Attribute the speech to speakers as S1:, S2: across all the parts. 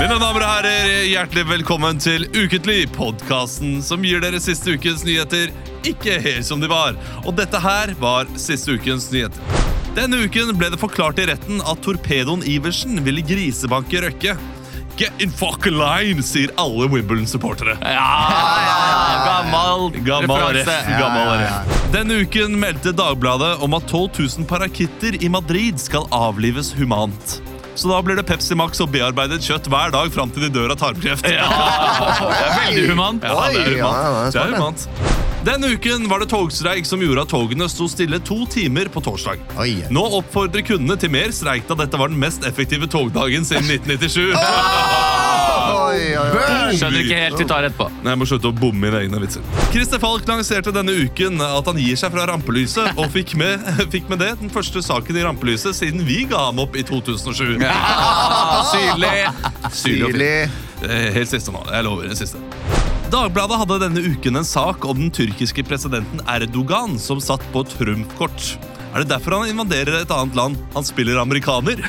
S1: Mine damer og herrer, hjertelig velkommen til Ukentlig, podkasten som gir dere siste ukens nyheter ikke helt som de var. Og dette her var siste ukens nyheter. Denne uken ble det forklart i retten at torpedoen Iversen ville grisebanke Røkke. Get in fucking line, sier alle Wimbledon-supportere.
S2: Gammel
S1: Gammal
S2: referanse.
S1: ref, gammal ref. Denne uken meldte Dagbladet om at 12 000 parakitter i Madrid skal avlives humant. Så da blir det Pepsi Max og bearbeidet kjøtt hver dag fram til de dør av tarmkreft.
S2: Det er veldig humant.
S1: Ja, det er
S3: Oi, ja,
S1: humant.
S3: det
S1: Det
S3: er
S1: er humant. Denne uken var det togstreik som gjorde at togene sto stille to timer på torsdag.
S3: Oi.
S1: Nå oppfordrer kundene til mer streik da dette var den mest effektive togdagen siden 1997.
S3: Oi, oi, oi.
S2: Skjønner ikke helt de tar etterpå.
S1: Nei, Jeg må slutte å bomme mine egne vitser. Christer Falk lanserte denne uken at han gir seg fra rampelyset, og fikk med, fikk med det den første saken i rampelyset siden vi ga ham opp i 2007.
S2: Syrlig.
S1: Syrlig og fint.
S3: Tydelig.
S1: Eh, Helt siste nå. Jeg lover. det siste. Dagbladet hadde denne uken en sak om den tyrkiske presidenten Erdogan som satt på et Trump-kort. Er det derfor han invaderer et annet land? Han spiller amerikaner.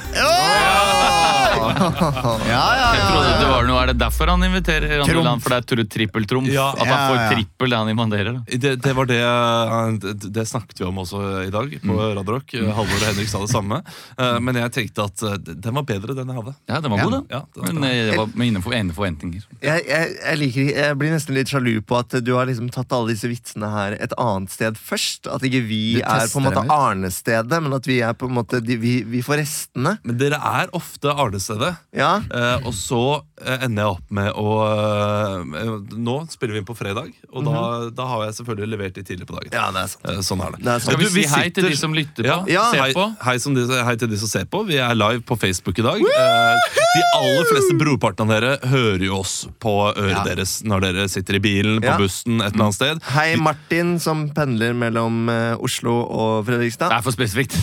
S3: Ja, ja,
S2: Jeg
S3: ja.
S2: trodde det var noe. Er det derfor han inviterer andre
S3: Trumf.
S2: land? For det er tru- trippeltrumf?
S1: Ja.
S2: At han
S3: Ja, ja.
S2: får trippel det han invaderer? da.
S1: Det, det var det eh, Det snakket vi om også i dag på
S2: Mm.
S1: Radarock. Halvor og Henrik sa det samme. Eh, Men jeg tenkte at eh, den var bedre, den jeg hadde.
S2: Ja, den var god,
S1: Ja,
S2: da.
S1: den var
S2: Men eh, det var med innenfor egne forventninger.
S3: Jeg, jeg, jeg, liker, ikke- jeg blir nesten litt sjalu på at du har liksom tatt alle disse vitsene her et annet sted først. At ikke vi
S4: Du
S3: er på
S4: tester
S3: en måte
S4: dem ut.
S3: arnestedet, men at vi er på en måte de, vi, vi får restene.
S1: Men dere er ofte arnestedet.
S3: Ja.
S1: Eh, og så eh, ender jeg opp med å eh, Nå spiller vi inn på fredag, og da,
S2: Mhm.
S1: da har jeg selvfølgelig levert de tidlig på dagen.
S3: ja, det er sant.
S1: Eh, sånn er det.
S3: Det er sant.
S2: Skal vi
S1: Du,
S2: si hei til
S1: sitter-
S2: de som lytter på?
S1: ja,
S3: Ja,
S1: hei,
S2: Ser på?
S1: Hei, som de, hei til de som ser på. Vi er live på Facebook i dag. Eh, de aller fleste brorparten av dere hører jo oss på øret deres når dere sitter i bilen, på
S3: Ja.
S1: bussen, et eller annet sted.
S3: Hei, Martin, som pendler mellom eh, Oslo og
S2: Det
S3: Fredrikstad.
S2: er for spesifikt.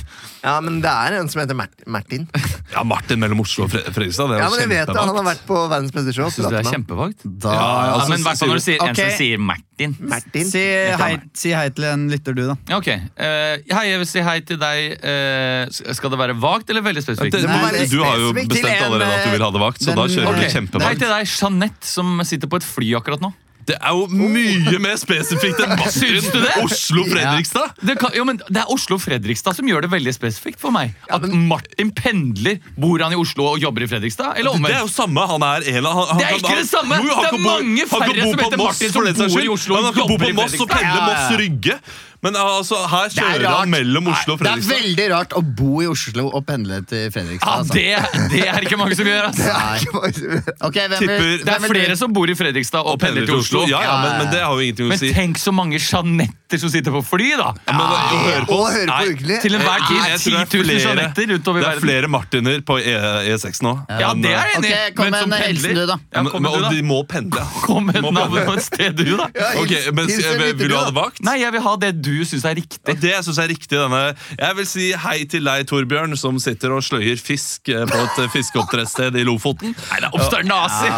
S3: Ja, men det er en som heter Mert Martin.
S1: Ja, Martin mellom Oslo og Fre- Fredrikstad. Det er
S3: Ja,
S1: jo
S3: men jeg vet det,
S1: kjempevagt.
S3: Han har vært på verdens beste show.
S2: Syns du det er
S3: Zlatan.
S2: kjempevagt?
S3: Da
S1: Ja,
S2: Ja,
S1: altså,
S2: men i hvert fall når du
S1: sier-
S2: sier en som
S4: Ok.
S2: sier Martin.
S3: Martin.
S4: Si hei, si hei til en lytter, du, da.
S2: Ja, Ok. Eh, hei, jeg vil si hei til deg. Eh, skal det være vagt eller veldig spesifikt?
S1: Det-
S3: må være
S1: Du, du har jo
S3: spesifikt til
S1: bestemt
S4: en,
S1: allerede at du vil ha det vagt, så
S4: den-
S1: da kjører
S2: Ok,
S1: du
S2: Hei
S1: kjempevagt.
S2: til deg, Jeanette, som sitter på et fly akkurat nå.
S1: Det er jo mye mer spesifikt enn
S2: Syns du det?
S1: Oslo-Fredrikstad!
S2: Det, kan, jo, men det er Oslo og Fredrikstad som gjør det veldig spesifikt for meg. At Martin pendler. Bor han i Oslo og jobber i Fredrikstad? Eller
S1: Det er jo
S2: omvendt?
S1: samme. Han er en av han, han
S2: Det er
S1: kan-
S2: ikke
S1: han-
S2: det samme!
S1: Jo, jo,
S2: Det
S1: han
S2: er
S1: kan bo-
S2: mange
S1: han kan
S2: færre
S1: bo
S2: som
S1: på
S2: heter
S1: Moss,
S2: Martin, som
S1: for den saks
S2: bor i
S1: skyld.
S2: Oslo og
S1: Han kan bo
S2: jobber
S1: på
S2: i
S1: Moss og
S2: Fredrikstad.
S1: pendle
S4: Ja, ja, ja.
S1: Moss Rygge. Men altså, her
S4: er
S1: kjører
S4: rart.
S1: han mellom Oslo og
S4: Det er
S1: Fredrikstad.
S4: veldig rart å bo i Oslo og pendle til
S2: Ja,
S1: Altså.
S4: Fredrikstad.
S2: det, det er ikke mange som gjør, ass.
S4: Altså. Ok, hvem
S1: Tipper-
S4: vil,
S2: Det er flere som bor i Fredrikstad og pendler til Oslo.
S1: Ja, ja, men, men det har jo ingenting å
S2: Men
S1: si.
S2: tenk så mange Jeanetter som sitter på fly, da!
S1: Ja, men å høre på
S3: Og
S1: oss-
S3: høre på
S1: Nei,
S3: Ukelig.
S2: Til enhver
S1: jeg
S2: tid 10
S1: tror det
S2: 000
S1: er flere-
S2: Jeanetter utover i
S1: Det er
S2: verden.
S1: flere Martiner på E- E6 nå.
S2: Ja,
S1: enn,
S2: det er
S1: eh,
S2: jeg enig i.
S4: Ok, kom
S2: men
S4: med
S2: som
S4: en hilsen
S2: pendler-
S4: du, da.
S2: Ja, kom
S1: men,
S2: med du,
S1: og de
S2: da.
S1: må pendle.
S2: Kom med
S1: Må
S2: et navn
S1: pendle.
S2: på et sted, du, da.
S1: Ok, men
S3: Hils- hils en
S1: eh,
S3: liten
S1: Vil du ha det
S3: da.
S1: vakt?
S2: Nei, jeg vil ha det du syns er
S1: Det
S2: riktig.
S1: er det jeg synes er riktig. denne Jeg vil si hei til deg, Torbjørn, som sitter og sløyer fisk eh, på et eh, fiskeoppdrettssted i Lofoten.
S2: Nei, det er oppstår nazi!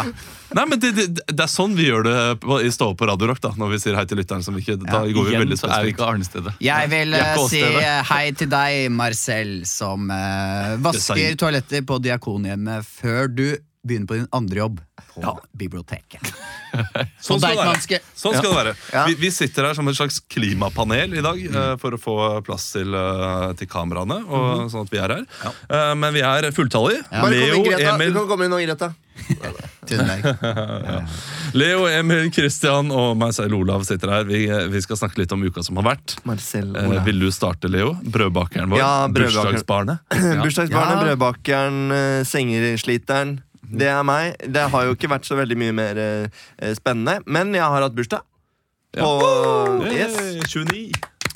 S1: Nei, men det, det, det er sånn vi gjør det på- i Stå opp på Radio Rock, da, når vi sier hei til lytteren. Som vi ikke, da går vi
S2: Igjen
S1: veldig
S2: så er vi
S1: spesifikt.
S2: ikke Arnestedet.
S4: Jeg vil
S2: Jeg er
S4: eh,
S2: ikke
S4: si
S2: åstedet.
S4: eh, hei til deg, Marcel, som eh,
S1: Design.
S4: vasker toaletter på Diakonhjemmet før du begynner på din andre jobb på biblioteket.
S1: Sånn skal det være.
S4: Deichmanske.
S1: Sånn skal det være.
S3: Ja.
S1: Vi, vi sitter her som et slags klimapanel i dag eh, for å få plass til, eh, til kameraene, og, sånn at vi er her. Eh, men vi er fulltallige.
S3: Mhm. Bare kom
S1: Leo,
S3: inn, Greta.
S1: Emil,
S3: Du kan komme inn nå, Greta.
S4: Tusen takk.
S1: Leo, Emil, Christian og meg selv, Olav, sitter her. Vi, vi skal snakke litt om uka som har vært.
S3: Marcel
S1: Eh, vil du starte, Leo? Brødbakeren vår.
S3: Ja, brødbakeren.
S1: Bursdagsbarnet.
S3: Eh, Bursdagsbarnet,
S4: Ja.
S3: brødbakeren, eh, sengesliteren.
S1: Mm.
S3: Det er meg. Det har jo ikke vært så veldig mye mer eh, spennende, men jeg har hatt bursdag. På, yes,
S1: Eh, 29.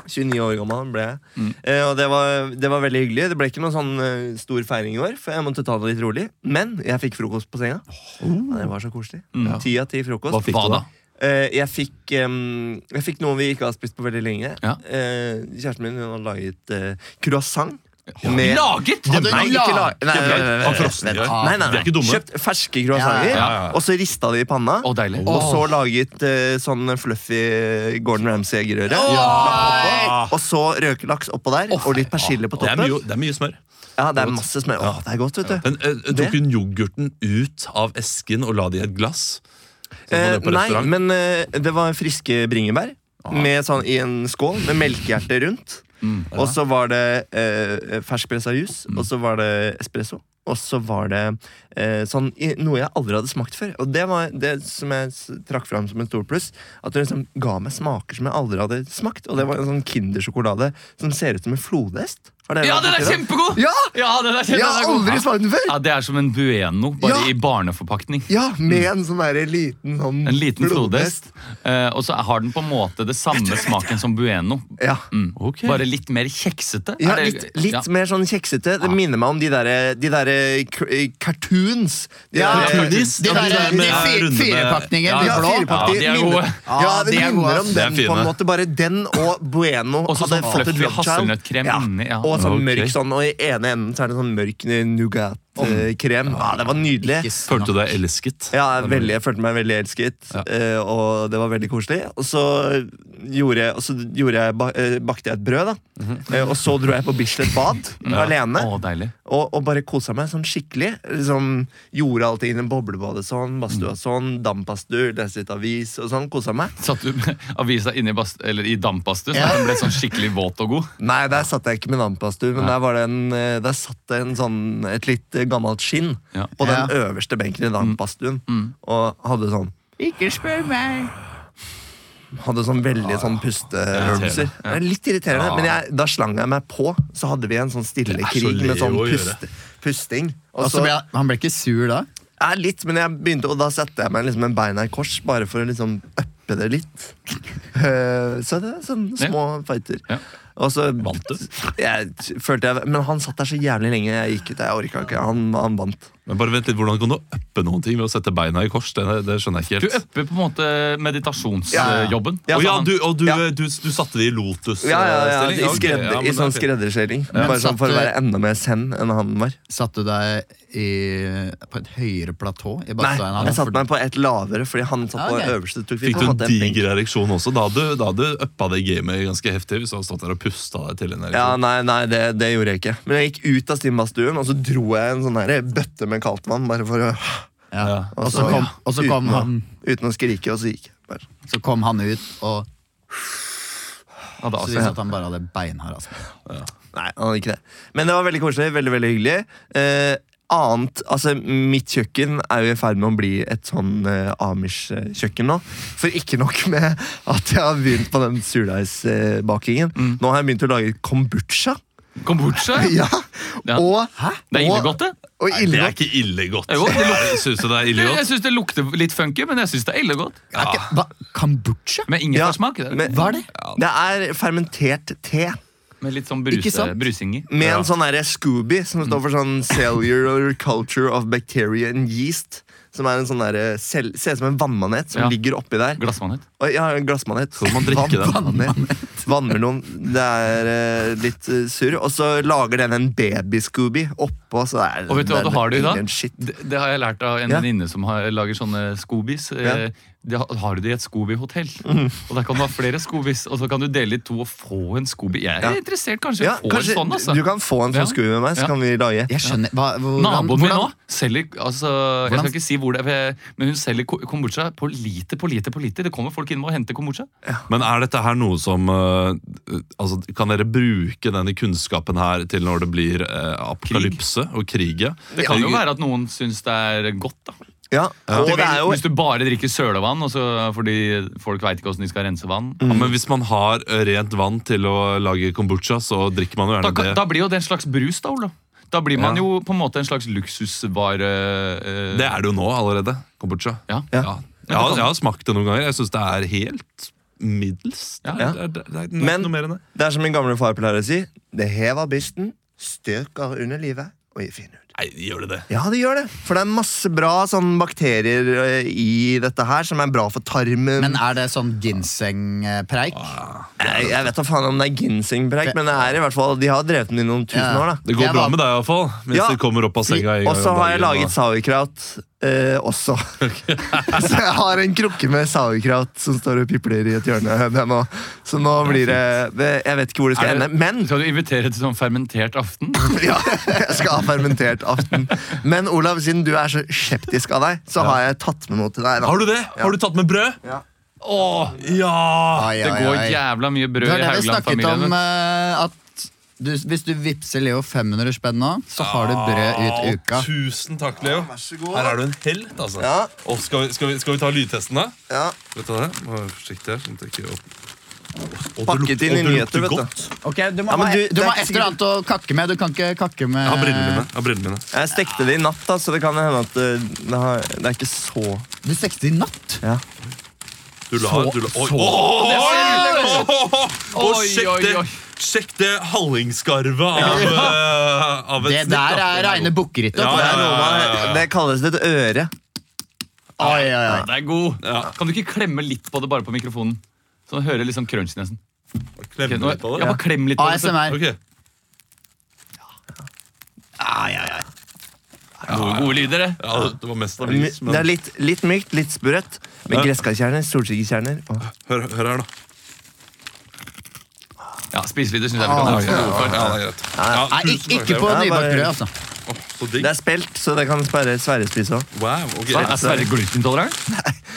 S3: 29 år gammel ble jeg. Eh, og det var, det var veldig hyggelig. Det ble ikke noen sånn eh, stor feiring i år, for jeg måtte ta det litt rolig. Men jeg fikk frokost på senga. Ja, Det var så koselig. Ti av ti frokost.
S2: Hva fikk Hva du da? da?
S3: Eh, jeg, fikk, em, jeg fikk noe vi ikke har spist på veldig lenge.
S2: Ja.
S3: Eh, kjæresten min hun har laget eh, croissant. Med-
S2: Laget!
S3: Ja,
S2: Nei,
S3: ikke
S2: ikke
S3: la-
S2: laget.
S3: Nei, nei, nei, nei,
S1: Av
S3: nei,
S1: frosne
S3: nei,
S1: gjør.
S3: nei, nei,
S1: De er ikke
S3: nei.
S1: dumme.
S3: Kjøpt ferske croissanter,
S4: Ja,
S1: ja, ja.
S3: og så rista de i panna.
S2: Å, deilig.
S3: Og
S2: Åh.
S3: så laget eh, sånn fluffy Gordon Ramsay-eggerøre.
S1: Ja.
S3: Og så røkelaks oppå der, og litt persille på
S1: Det er,
S3: toppen.
S1: mye, det er mye smør.
S3: Ja, det er masse smør. Åh, det er godt, vet du.
S1: Men eh,
S3: Det?
S1: Tok hun yoghurten ut av esken og la det i et glass? Sånn
S3: Eh,
S1: man gjør på
S3: nei,
S1: restaurant.
S3: men eh, det var friske bringebær med, sånn, i en skål med melkehjerte rundt. Og så var det eh, ferskpressa jus, og så var det espresso. Og så var det eh, sånn, i- noe jeg aldri hadde smakt før. Og det var det som jeg s- trakk fram som en stor pluss. At det liksom ga meg smaker som jeg aldri hadde smakt. Og det var en sånn Kindersjokolade som ser ut som en flodhest. Har dere
S2: Ja,
S3: vært
S2: den er
S3: borti
S2: kjempegod!
S3: Ja!
S2: Ja, den er
S3: Jeg har
S2: kjempegod.
S3: aldri smakt den før!
S2: Ja, det er som en bueno, bare
S3: Ja.
S2: i barneforpakning.
S3: Ja, Med en sånn derre liten sånn
S2: En liten flodhest. Eh, og så har den på en måte det samme smaken som bueno.
S3: Ja.
S2: Mm.
S1: Ok.
S2: Bare litt mer kjeksete.
S3: Ja,
S2: Er
S3: litt,
S2: det-
S3: litt
S2: ja.
S3: mer sånn kjeksete. Det minner meg om de derre de der, eh, cartoons. De eh,
S4: Ja,
S3: derre-
S1: cartoonies.
S4: De
S1: Ja,
S4: der,
S1: de der
S4: de
S1: med
S4: fi-
S1: runde med-
S4: firepakningen
S2: Ja,
S4: i blå.
S2: firepakning. Ja,
S3: firepakter
S2: de Ah, er
S3: minner-
S2: gode.
S3: Ja,
S4: Ja,
S3: det
S4: de er gode,
S3: minner om
S4: ass.
S1: De er
S3: den på en
S1: fine.
S3: måte. Bare den og Bueno
S2: Og så
S3: hadde
S2: sånn
S3: fått et
S2: fluffy
S3: Rothschild.
S2: hasselnøttkrem
S3: ja.
S2: inni, ja.
S3: Og sånn
S2: Ok.
S3: mørk sånn, og i ene enden så er det sånn mørk nougat-krem. Ja, det var nydelig.
S4: Yes.
S1: Følte du deg elsket?
S3: Ja, jeg, er veldig, jeg følte meg veldig elsket, eh, og det var veldig koselig. Og så gjorde jeg, og så gjorde jeg, ba- eh, bakte jeg et brød, da.
S2: Mhm.
S3: Eh, Og så dro jeg på Bislett bad alene.
S2: Å, deilig.
S3: og, og bare kosa meg sånn skikkelig. Liksom, gjorde alt inn i boblebadet sånn, badstua
S1: Mm.
S3: sånn, dampbadstue, leste litt avis og sånn. Kosa meg.
S2: Satt du med avisa inni bast eller i dampbadstue, så den ble sånn skikkelig våt og god?
S3: Nei, der satt jeg ikke med dampbadstue, men der, var det en, eh, der satt det en sånn, et litt eh, gammelt skinn
S2: Ja.
S3: på den
S4: Ja.
S3: øverste benken i
S1: Mm.
S3: dampbadstuen, og hadde sånn
S4: Ikke spør meg.
S3: Hadde sånn veldig sånn pusteøvelser.
S1: Ah, Irriterende, Ah.
S3: Det er Litt irriterende, men jeg, da slang jeg meg på. Så hadde vi en sånn stille
S1: Det er så
S3: krig med sånn
S1: Leo å gjøre. Altså,
S3: puste, pusting. Og
S4: Og så ble, han- han ble ikke sur da?
S3: Ja, litt, men jeg begynte, og da satte jeg meg liksom en beina i kors, bare for å liksom uppe det litt. Eh, Så det er sånne små fighter.
S2: Ja.
S3: Og så
S1: Vant du?
S3: Jeg t- følte jeg, men han satt der så jævlig lenge. Jeg gikk ut, jeg orka ikke. Han, han vant.
S1: Men bare vent litt, Hvordan kan du uppe noen ting ved å sette beina i kors? Det, det skjønner jeg
S2: Du
S1: ikke helt.
S2: upper på en måte
S3: Ja, ja.
S2: meditasjonsjobben.
S3: Ja,
S1: Å ja,
S2: Sånn.
S1: du, og du, eh,
S3: Ja.
S1: du, du satte det i lotus-stilling?
S3: Ja, ja, ja, I,
S1: ok,
S3: skredder,
S1: ja, men
S3: i
S1: det er
S3: sånn
S1: fint.
S3: skredderstilling. Bare sånn for å
S4: satt du-
S3: være enda mer zen enn han var.
S4: Satt du deg i, på et høyere platå
S3: Nei,
S4: i badstuen?
S3: jeg satte meg på et lavere, fordi han satt på
S4: Ok.
S3: øverste. Tok vi
S1: Fikk
S3: på
S1: du
S3: en
S1: en
S3: måte en benk.
S1: diger ereksjon også? Da hadde da hadde du uppa det gamet ganske heftig. hvis du hadde stått der og pusta deg til en
S3: Ja,
S1: ereksjon.
S3: nei, nei det, det gjorde jeg ikke. Men jeg gikk ut av stimbadstuen og så dro jeg en sånn her bøtte med kaldt vann. Bare for å
S4: Ja.
S3: Og
S4: Og så kom, og
S3: Altså,
S4: så kom
S3: uten, å-
S4: han
S3: Uten å skrike, og så gikk jeg. bare.
S4: Så kom han ut, og
S2: Ja, da,
S4: så
S2: altså.
S4: viste det at han bare hadde altså. beinhard astma.
S3: Nei, han hadde ikke det. Men det var veldig koselig. Veldig, veldig hyggelig. Eh, annet, altså Mitt kjøkken er jo i ferd med å bli et sånn eh, Amish-kjøkken nå. For ikke nok med at jeg har begynt på den surdeigsbakingen.
S4: Mm.
S3: Nå har jeg begynt å lage kombucha.
S2: Kombucha?
S3: Ja,
S2: Ja.
S3: Og,
S2: Det er
S3: og-
S2: illegodt, det.
S3: Og
S1: Nei, det
S3: illegodt.
S1: er ikke ille godt.
S2: Jo, det lukter-
S1: Syns du det er ille
S2: Jeg, jeg
S1: godt?
S2: syns det lukter litt funky, men jeg syns det er ille godt.
S4: Er ikke- Hva? Kombucha?
S2: Med
S3: Ja,
S2: ingefærsmak. Ja,
S3: men-
S2: med,
S4: Hva er det?
S3: Det er fermentert te.
S2: med litt sånn
S4: Ikke
S2: bruse,
S4: sant?
S2: brusing i.
S3: Med
S2: Ja.
S3: en sånn derre Scooby, som står for sånn Cellular Culture of Bacteria and Yeast. Som er en sånn derre cell- Ser ut som en vannmanet som
S2: Ja.
S3: ligger oppi der.
S2: Glassmanet.
S3: Og jeg har en glassmanet.
S1: Skal man drikke den?
S3: vannmanet. Vannmelon. Det er eh, litt eh, surr. Og så lager den en baby-Scooby oppå, så er det
S2: Og vet du hva
S3: det
S2: du har det i dag?
S3: ingen Shit.
S2: Det, det har jeg lært av en
S3: Ja.
S2: venninne som har, lager sånne Scoobies. Eh, det ha- har du det i et Scooby-hotell.
S3: Mm.
S2: Og Der kan du ha flere Scoobies, og så kan du dele i to og få en Scooby. Jeg er
S3: Ja.
S2: interessert kanskje i
S3: Ja,
S2: å få en
S3: kanskje
S2: sånn. altså.
S3: du kan få en
S2: Ja.
S3: sånn Scooby med meg, så
S2: Ja.
S3: kan vi lage.
S4: Jeg skjønner hva, hvordan,
S2: Naboen min nå
S4: hvordan-
S2: selger altså, Jeg
S4: Hvordan-
S2: skal ikke si hvor det er, men hun selger ko- kombucha på liter på liter på liter. Det kommer folk inn og henter kombucha.
S1: Men er dette her noe som eh, altså, Kan dere bruke denne kunnskapen her til når det blir eh, apokalypse og krig? ja?
S2: Det kan jo være at noen syns det er godt. da.
S3: Ja. Og det er jo
S2: Hvis du bare drikker sølevann og så- fordi folk veit ikke åssen de skal rense vann.
S1: Ja, men hvis man har eh, rent vann til å lage kombucha, så drikker man jo
S2: Da,
S1: gjerne
S2: kan,
S1: det.
S2: da blir jo det en slags brus, da, Ola. Da blir man
S1: Ja.
S2: jo på en måte en slags luksusvare... eh,
S1: Det er det jo nå allerede. Kombucha.
S2: Ja.
S1: Ja. Jeg, har,
S2: kan-
S1: jeg har smakt det noen ganger. Jeg syns det er helt middels.
S2: Ja.
S1: Det, er, det, er, det er ikke
S3: Men-
S1: noe mer enn det.
S3: Det er som min gamle far pleier å si. Det hever bysten, støker under livet og gir fin hud.
S1: Nei, gjør det det?
S3: Ja, det gjør det. For det er masse bra sånn bakterier eh, i dette her som er bra for tarmen.
S4: Men er det sånn ginsengpreik?
S3: jeg, jeg vet da faen om det er ginsengpreik, men det er i hvert fall, de har drevet den i noen tusen
S4: Ja.
S3: år. da.
S1: Det går
S4: Jeg
S1: bra
S4: var-
S1: med deg iallfall. Mens
S3: Ja.
S1: du kommer opp av senga. en gang
S3: Og så
S1: om
S3: har jeg
S1: dagen, og-
S3: laget sauerkraut eh, også. så jeg har en krukke med sauerkraut som står og pipler i et hjørne. der nå. Så nå blir det det- Jeg vet ikke hvor det skal
S2: Er det-
S3: ende. Men
S2: Skal du invitere til sånn fermentert aften?
S3: ja, jeg skal ha fermentert aften. Men Olav, siden du er så skeptisk av deg, så har jeg tatt med noe til deg. da.
S1: Har du det? Har du tatt med brød?
S3: Ja.
S1: Åh, ja!
S4: Ai,
S2: Det
S4: ai,
S2: går
S4: ai.
S2: jævla mye
S4: Du
S2: brød
S4: har
S2: i
S4: det vi snakket om
S2: Haugland-familien.
S4: eh, at du, hvis du vippser Leo 500 spenn nå, så har du brød ut uka.
S1: Å, Tusen takk, Leo.
S3: Vær så god.
S1: Her er du en helt, altså.
S3: Ja.
S1: Og skal, vi, skal, vi, skal vi ta lydtesten, da?
S3: Ja.
S1: Skal vi ta det? Må være forsiktig her. Sånn at jeg ikke Å, det
S3: Pakket
S1: lukter-
S3: inn
S1: å, det
S3: i
S1: lukter
S3: nyheter, vet du.
S1: godt.
S4: Ok, Du må
S3: Ja, men
S4: ha,
S3: du-
S4: du
S3: det er
S4: må ha
S3: ikke
S4: et eller annet å kakke med. Du kan ikke kakke med
S1: Jeg har brillene mine. Jeg har brillene mine.
S3: Jeg stekte det i natt, da, så det kan hende at eh, det, har, det er ikke så
S4: Du stekte i natt!
S3: ja.
S1: Du lar, du lar, oi,
S2: så-
S1: Åh, det var
S2: Oi,
S1: veldig godt! Og
S2: Oi,
S1: sjekk
S2: oi,
S1: det,
S2: oi.
S1: sjekk det hallingskarvet av, eh, av et
S4: Det
S1: snitt, da.
S4: der er reine altså. bukkeritt.
S1: Ja,
S3: Det,
S1: ja,
S3: er noe man, det kalles et øre.
S4: Oi, oi, oi.
S2: Det er god.
S1: Ja.
S2: Kan du ikke klemme litt på det bare på mikrofonen? Så du hører liksom crunch i nesen. Ok,
S1: Klemmer
S2: nå,
S1: litt på
S2: ja,
S1: det.
S2: bare klem litt på det. så-
S4: ASMR.
S1: Ok.
S2: Gode, gode lyder, det.
S1: Ja, det var mest av lys.
S3: Det er
S1: Men
S3: litt, litt mykt, litt sprøtt. Med gresskarkjerner, solsikkekjerner og
S1: hør, hør her, da.
S2: Ja, Spiselyder syns jeg vi kan ha. gode for.
S1: Ja, det er greit. Ja,
S4: Nei,
S1: tusen
S4: ikke,
S1: takk,
S4: ikke på
S1: Leo.
S3: Ja,
S4: nybakt
S3: bare-
S4: brød, altså.
S1: Åh, Så digg.
S3: Det er spelt, så det kan Sverre Sverre spise òg.
S1: Wow, ok.
S2: Hva, Er Sverre glutenintolerant?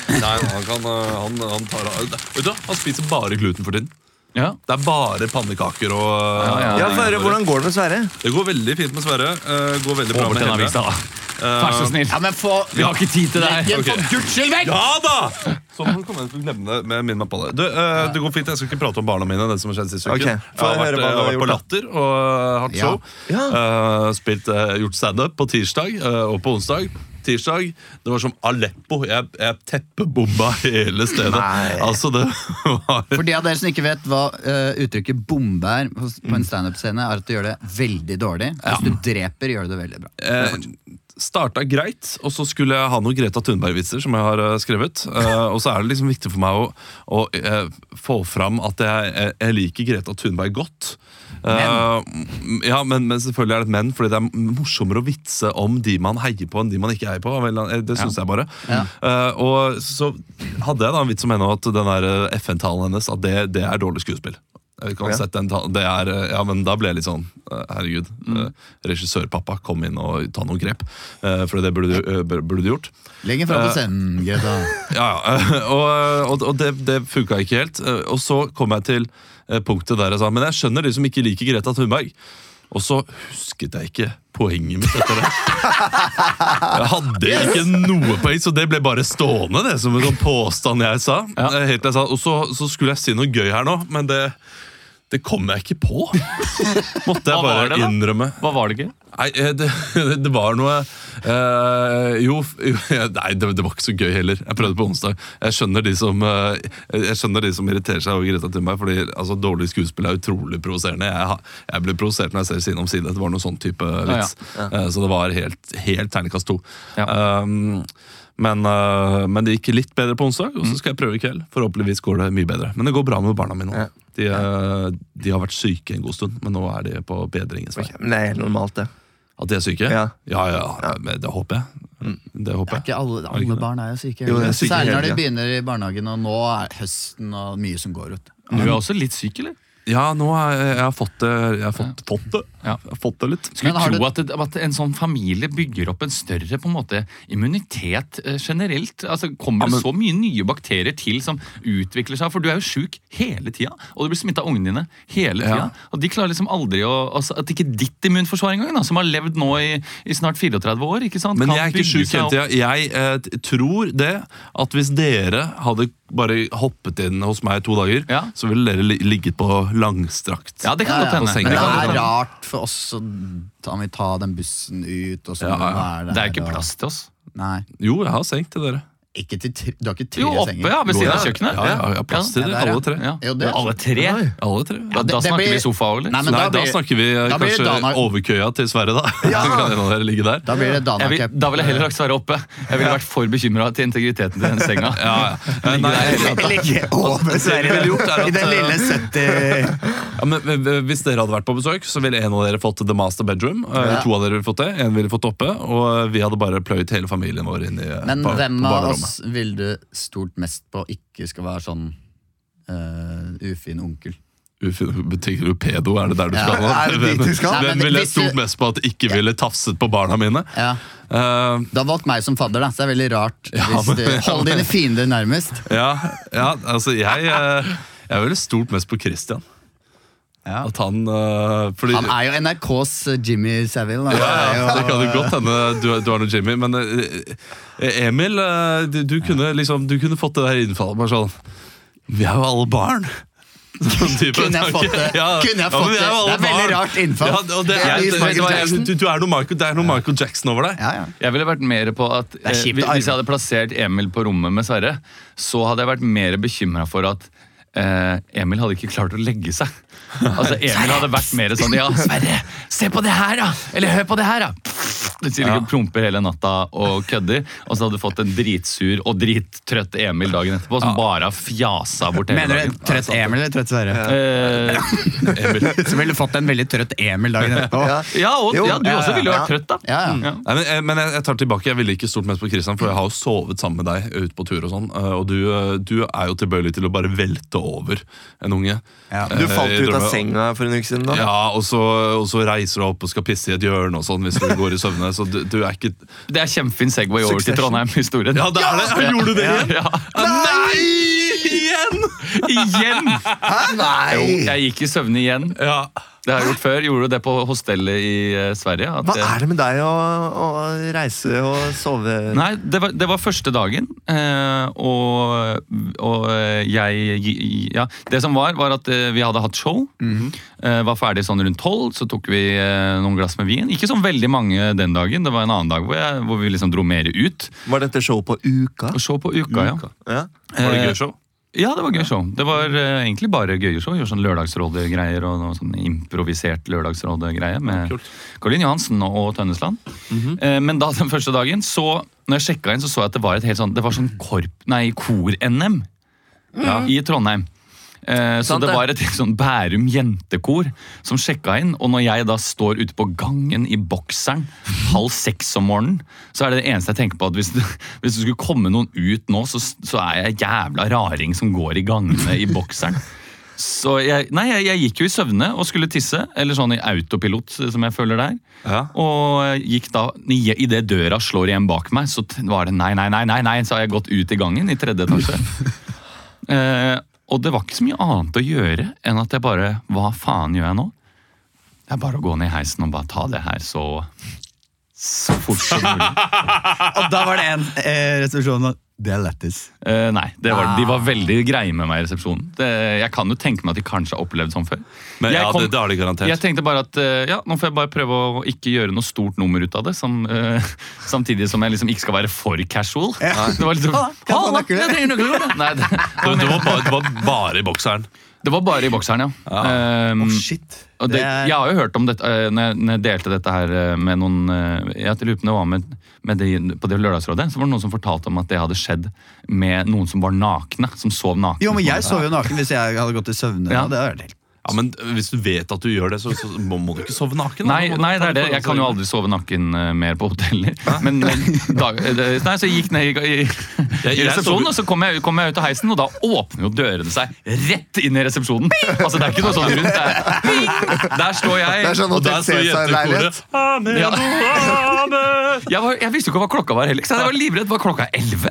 S1: Nei, han, kan, øh, han, han tar av Vet du, hva? han spiser bare gluten for tiden.
S2: Ja.
S1: Det er bare pannekaker og øh,
S2: Ja,
S3: Ja, Sverre, hvordan går det med Sverre?
S1: Det går veldig fint med Sverre. øh, går veldig bra
S2: Over
S1: med
S2: til en
S1: Helle.
S2: avis, da.
S1: Eh,
S2: Vær så snill.
S4: Ja, men få
S2: Vi har ikke tid til deg.
S4: Legg den
S1: ok.
S4: for guds skyld vekk!
S1: Ja da! Sånn kom jeg til å glemme det. Men minn meg på det. Du, øh, det går fint. Jeg skal ikke prate om barna mine. Det som har skjedd siste uken.
S3: Ok,
S1: Jeg
S3: få
S1: har
S3: høre
S1: vært,
S3: hva
S1: øh,
S3: du har
S1: vært på
S3: gjort, da.
S1: Latter og øh, hatt
S4: Ja.
S1: show. Øh, spilt, øh, gjort standup på tirsdag øh, og på onsdag. Tirsdag, Det var som Aleppo. Jeg, jeg teppebomba hele stedet.
S3: Nei.
S1: Altså, det var
S4: For de av dere som ikke vet hva eh, uttrykket 'bombe' er på på en standup-scene, er at du gjør det veldig dårlig. Hvis du dreper, gjør du det veldig bra.
S1: Eh, starta greit, og så skulle jeg ha noen Greta Thunberg-vitser som jeg har eh, skrevet. Eh, og så er det liksom viktig for meg å, å eh, få fram at jeg, jeg, jeg liker Greta Thunberg godt. Eh, ja, men, men selvfølgelig er det et men, fordi det er morsommere å vitse om de man heier på enn de man ikke heier på. av en eller annen- eh, Det syns jeg bare.
S4: Ja.
S1: Eh, og så hadde jeg da en vits om henne at den der eh, FN-talen hennes at det, det er dårlig skuespill. Jeg kan
S3: Ja.
S1: sette en talen, det er, eh, ja, men Da ble jeg litt sånn eh, Herregud, eh, regissørpappa, kom inn og ta noen grep. eh, For det burde du, eh, bur- burde du gjort.
S4: Legg den fram på scenen, Greta.
S1: Ja, ja, eh, Og, og, og det, det funka ikke helt. Eh, Og så kom jeg til eh, punktet der jeg sa Men jeg skjønner de som ikke liker Greta Thunberg. Og så husket jeg ikke poenget mitt etter det. Jeg hadde ikke noe poeng, så det ble bare stående, det, som en sånn påstand jeg sa. Eh, Helt til jeg sa og så, så skulle jeg si noe gøy her nå, men det, det kom jeg ikke på.
S2: Hva
S1: Måtte jeg
S2: var
S1: bare
S2: det da?
S1: innrømme.
S2: Hva var det ikke?
S1: Nei, eh, det, det var noe eh, Jo, f- jo, nei, det, det var ikke så gøy heller. Jeg prøvde på onsdag. Jeg skjønner de som, eh, jeg skjønner de som irriterer seg over Greta Thunberg. Fordi altså, Dårlig skuespill er utrolig provoserende. Jeg, har- jeg ble provosert når jeg ser Side om side. Det var noe sånn type vits. Eh, Så det var helt, helt terningkast to. Um, men, eh, men det gikk litt bedre på onsdag, og så skal jeg prøve i kveld. Forhåpentligvis går det mye bedre. Men det går bra med barna mine nå. De, eh, de har vært syke en god stund, men nå er de på bedringens vei.
S3: Ok, Men det er helt normalt, det.
S1: At de er syke?
S3: Ja.
S1: ja, ja, men det håper jeg. Det håper jeg.
S4: Ikke
S1: Er
S4: alle,
S1: det ikke
S4: alle
S1: det?
S4: barn er jo syke.
S3: Jo, de er syke
S4: Særlig
S3: hele
S4: når de
S3: tiden.
S4: begynner i barnehagen, og nå er høsten og mye som går ut.
S2: Du er også litt syk, eller?
S1: Ja, nå har jeg, jeg har fått det. Jeg har fått, fått det.
S2: Ja.
S1: Jeg har fått det litt.
S2: Skulle
S4: Men har
S2: tro
S4: du-
S2: at, det, at en sånn familie bygger opp en større på en måte, immunitet eh, generelt. Altså, kommer det
S1: men-
S2: så mye nye bakterier til som utvikler seg? For du er jo sjuk hele tida, og du blir smitta av ungene dine hele tida.
S1: Ja.
S2: Og de klarer liksom aldri å altså, At ikke ditt immunforsvar engang, da, som har levd nå i, i snart 34 år, ikke sant?
S1: Men
S2: kan
S1: jeg er ikke
S2: bygge
S1: sjuk
S2: seg
S1: hele
S2: opp.
S1: tida. Jeg eh, t- tror det at hvis dere hadde bare hoppet inn hos meg i to dager,
S2: Ja.
S1: så ville dere li- ligget på langstrakt.
S2: Ja, det kan
S4: Ja, ja.
S2: godt
S1: senga.
S2: hende.
S4: Men det
S2: kan godt
S4: er
S2: hende.
S4: rart for oss å ta, vi ta den bussen ut og sånn.
S1: Ja, ja.
S4: hva
S2: Det er jo ikke
S4: og-
S2: plass til oss.
S4: Nei.
S1: Jo, jeg har seng til dere.
S4: ikke til tre, du har ikke tre
S2: Jo, oppe,
S4: senger.
S2: ja, ved siden av
S1: Ja,
S2: kjøkkenet.
S1: Ja, ja, ja, plass til
S4: Ja,
S1: de,
S4: der, ja.
S1: alle tre.
S2: Ja.
S4: Jo, det-
S2: Alle tre?
S1: Alle tre.
S2: Da,
S1: Ja.
S4: det-
S2: da
S4: det
S2: snakker
S4: blir-
S2: vi sofa òg, eller?
S4: Nei, men
S1: Nei,
S4: da
S1: da
S4: blir-
S1: snakker vi eh,
S4: da blir det
S1: kanskje
S4: Danar-
S1: overkøya til Sverre, da. Så kan en av dere ligge der.
S4: Da blir det Dana
S2: Jeg vil,
S4: Cup.
S2: da ville jeg heller lagt Sverre oppe. Jeg ville vært for bekymra til integriteten til den senga.
S1: Ja, ja. Nei,
S4: Ligge over
S1: det vi ville gjort er at,
S4: Sverige i den lille 70
S1: Ja, men men Hvis dere hadde vært på besøk, så ville en av dere fått The Master Bedroom. Eh, To av dere ville fått det, en ville fått oppe, og eh, vi hadde bare pløyd hele familien vår inn i eh,
S4: Men
S1: bar-
S4: hvem
S1: på
S4: av
S1: barnerommet.
S4: oss vil du stort mest på ikke skal være sånn eh, ufin onkel?
S1: Ufin- Tenker du pedo, er det der du
S4: Ja.
S1: skal? nå?
S3: Er det dit du skal?
S4: Nei, men
S1: Hvem ville jeg
S4: hvis du-
S1: stolt mest på at ikke ville tafset på barna mine?
S4: Ja.
S1: Eh,
S4: Du har valgt meg som fadder, da, så det er veldig rart. hvis
S1: men-
S4: du, Hold dine fiender nærmest.
S1: ja, ja, altså jeg eh, Jeg er veldig stolt mest på Christian.
S4: Ja.
S1: At han eh, fordi,
S4: Han er jo NRKs eh, Jimmy Savile. da.
S1: ja, ja,
S4: Det er
S1: Det
S4: jo-
S1: kan jo godt hende du, du har noe Jimmy, men eh, Emil, eh, du, du, kunne, liksom, du kunne fått det der innfallet. Bare sånn Vi er jo alle barn! Sånn type
S4: Kunne jeg
S1: tanke.
S4: fått det?
S1: Ja,
S4: Kunne jeg
S1: ja, men
S4: fått
S1: vi
S4: det?
S1: er jo alle
S4: Det er veldig
S1: barn.
S4: rart innfall.
S1: Ja, og det,
S4: Det er
S1: er,
S4: litt Michael
S1: vet du hva,
S4: Jackson.
S1: du, du er noe Michael, det er noe Michael Jackson over deg.
S4: Ja, ja.
S2: Jeg ville vært mer på at eh,
S4: kjipt
S2: hvis-
S4: å
S2: Hvis jeg
S4: arve.
S2: hadde plassert Emil på rommet med Sverre, så hadde jeg vært mer bekymra for at eh, Emil hadde ikke klart å legge seg. Altså Emil hadde vært mer sånn Ja, Sverre, se på det her, da! Eller hør på det her, da! Du sier ikke promper hele natta og kødder, og så hadde du fått en dritsur og drittrøtt Emil dagen etterpå, som bare har fjasa bort hele
S4: Mener du
S2: dagen.
S4: trøtt Emil eller trøtt Sverre?
S2: Eh,
S4: Så ville du fått en veldig trøtt Emil dagen etterpå.
S3: Ja.
S2: ja, og
S3: Jo,
S2: ja, du
S3: ja,
S2: også ville jo vært
S3: ja.
S2: trøtt, da. Mm.
S4: Ja, ja.
S2: Ja.
S1: Nei, men, eh, men jeg, jeg tar tilbake, jeg ville ikke stort mest på Kristian, for jeg har jo sovet sammen med deg ut på tur. og sånn, eh, og du, eh, du er jo tilbøyelig til å bare velte over en unge.
S4: Ja.
S1: Eh,
S3: Du falt
S1: jeg
S3: ut
S1: drømmer-
S3: av senga for en uke siden. da
S1: Ja, og så, og så reiser du opp og skal pisse i et hjørne og sånn hvis du går i søvne. Så du, du er ikke
S2: Det er kjempefin Segway over til
S3: Succession.
S2: Trondheim-historien.
S1: Ja, det er det! Ja, gjorde du det igjen?
S2: Ja.
S1: Nei! Igjen!
S2: Igjen! Jo,
S3: Nei!
S2: jeg gikk i søvne igjen.
S1: Ja.
S2: Det har jeg gjort før. Gjorde du det på hostellet i eh, Sverige? At,
S3: Hva er det med deg å, å reise og sove
S2: Nei, det var, det var første dagen, eh, og, og eh, jeg Ja, det som var, var at eh, vi hadde hatt show. eh, var ferdig sånn rundt tolv, så tok vi eh, noen glass med vin. Ikke sånn veldig mange den dagen, det var en annen dag hvor, jeg, hvor vi liksom dro mer ut.
S3: Var dette show på Uka?
S2: Og show på uka, ja.
S3: Ja.
S1: Var det gøy show?
S2: Eh, Ja, det var gøy show. Det var eh, egentlig bare gøye show. Gjorde sånn lørdagsrådegreier og noe sånn improvisert lørdagsrådegreie med
S1: Kult. Mhm.
S2: Caroline Johansen og Tønnesland. Eh, Men da den første dagen, så når jeg sjekka inn, så så jeg at det var et helt sånn Det var sånn korp... Nei, kor-NM i Trondheim. Eh, Så
S3: Sant
S2: det
S3: det.
S2: var et helt sånn Bærum jentekor som sjekka inn. Og når jeg da står ute på gangen i bokseren halv seks om morgenen, så er det det eneste jeg tenker på at hvis det, hvis det skulle komme noen ut nå, så, så er jeg jævla raring som går i gangene i bokseren. Så jeg, nei, jeg, jeg gikk jo i søvne og skulle tisse, eller sånn i autopilot, som jeg føler det er.
S1: Ja.
S2: Og gikk da, idet døra slår igjen bak meg, så t- var det nei, nei, nei, nei, nei, så har jeg gått ut i gangen i tredje etasje. eh, og det var ikke så mye annet å gjøre enn at jeg bare Hva faen gjør jeg nå? Det er bare å gå ned i heisen og bare ta det her så så fort som mulig.
S4: Og da var det en eh, resolusjon at det er lættis.
S2: Eh, nei, det var, de var
S1: Ah.
S2: veldig greie med meg i resepsjonen. Det, jeg kan jo tenke meg at de kanskje har opplevd sånn før.
S1: Men
S2: Jeg
S1: ja,
S2: kom-
S1: det, det har de
S2: Jeg
S1: garantert.
S2: tenkte bare at eh, ja, nå får jeg bare prøve å ikke gjøre noe stort nummer ut av det. Som, eh, samtidig som jeg liksom ikke skal være for casual. Det var liksom,
S4: kan jeg få
S2: «Halla,
S4: nøkkelen?»
S2: jeg trenger nøkkelen. Nei, det,
S1: Det, det, var bare, det var bare i bokseren.
S2: det var bare i bokseren, ja.
S1: Ah,
S2: Ehm,
S3: Shit.
S2: og det,
S3: Det er-
S2: jeg har jo hørt om dette eh, når jeg, når jeg delte dette her eh, med noen eh, Jeg lurer på om det var med, med de, på det lørdagsrådet. Så var det noen som fortalte om at det hadde skjedd med noen som var nakne. Som sov nakne.
S4: Jo, men jeg sov jo naken hvis jeg hadde gått i søvne.
S2: Ja.
S4: Det hadde vært helt
S1: Ja, men Hvis du vet at du gjør det, så, så må, må du ikke sove naken. da.
S2: Nei,
S1: Da må du
S2: nei,
S1: ta
S2: det er det.
S1: forhold
S2: Jeg kan
S1: til-
S2: jo aldri sove nakken eh, mer på hoteller. Men, men dag, eh, det- nei, så jeg gikk ned i, i,
S1: Jeg-
S2: i
S1: jeg
S2: resepsjonen,
S1: sov-
S2: og så kom jeg, kom jeg ut av heisen, og da åpner jo dørene seg rett inn i resepsjonen. Altså, det er ikke noe sånn rundt. Det er, ping! der står
S3: Det
S2: jeg.
S3: er sånn
S1: Og der
S3: Hotel
S1: står jentekoret.
S3: Cæsar-leilighet.
S1: Amen,
S2: Ja.
S1: amen.
S2: Jeg, var, jeg visste jo ikke hva klokka var heller, så jeg var livredd. Var klokka elleve?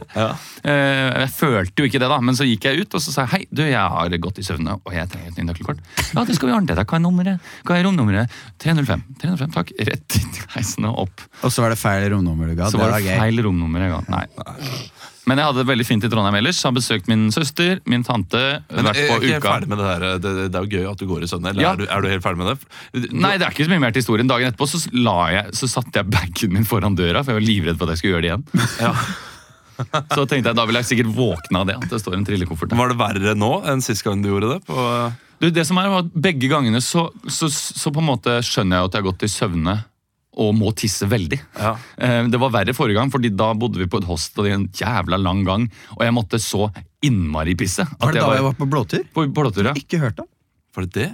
S2: Eh, Jeg følte jo ikke det, da, men så gikk jeg ut og så sa jeg, hei, du, jeg har gått i søvne og jeg trenger et nytt nøkkelkort. Ja, det skal vi ordne til deg. Hva er nummeret? Hva er romnummeret? 305. 305, takk. Rett inn i heisen og opp.
S4: Og så var det feil romnummer du ga.
S2: Så
S4: det
S2: var
S4: var
S2: det
S4: gøy.
S2: feil romnummer jeg ga. Nei. Men jeg hadde det veldig fint i Trondheim ellers. Har besøkt min søster, min tante.
S1: Men eh,
S2: vært
S1: jeg er
S2: på
S1: ikke helt
S2: uka.
S1: ferdig med det her. Det, det er jo gøy at du går i søvne. Eller
S2: Ja.
S1: er, du, er du helt ferdig med det?
S2: Nei, det er ikke så mye mer til historien. Dagen etterpå så, la jeg, så satte jeg bagen min foran døra, for jeg var livredd for at jeg skulle gjøre det igjen. Så tenkte jeg, Da vil jeg sikkert våkne av det. at det står en trillekoffert der.
S1: Var det verre nå enn sist gang du gjorde det? På,
S2: Du, det som er, var at Begge gangene så, så, så på en måte skjønner jeg jo at jeg har gått i søvne og må tisse veldig.
S1: ja.
S2: Eh, Det var verre forrige gang, fordi da bodde vi på et hostel i en jævla lang gang. Og jeg måtte så innmari pisse. at
S4: Var det
S2: jeg
S4: da
S2: var-
S4: jeg var på blåtur?
S2: På blåtur, ja.
S4: Ikke hørt om.
S1: Var det det?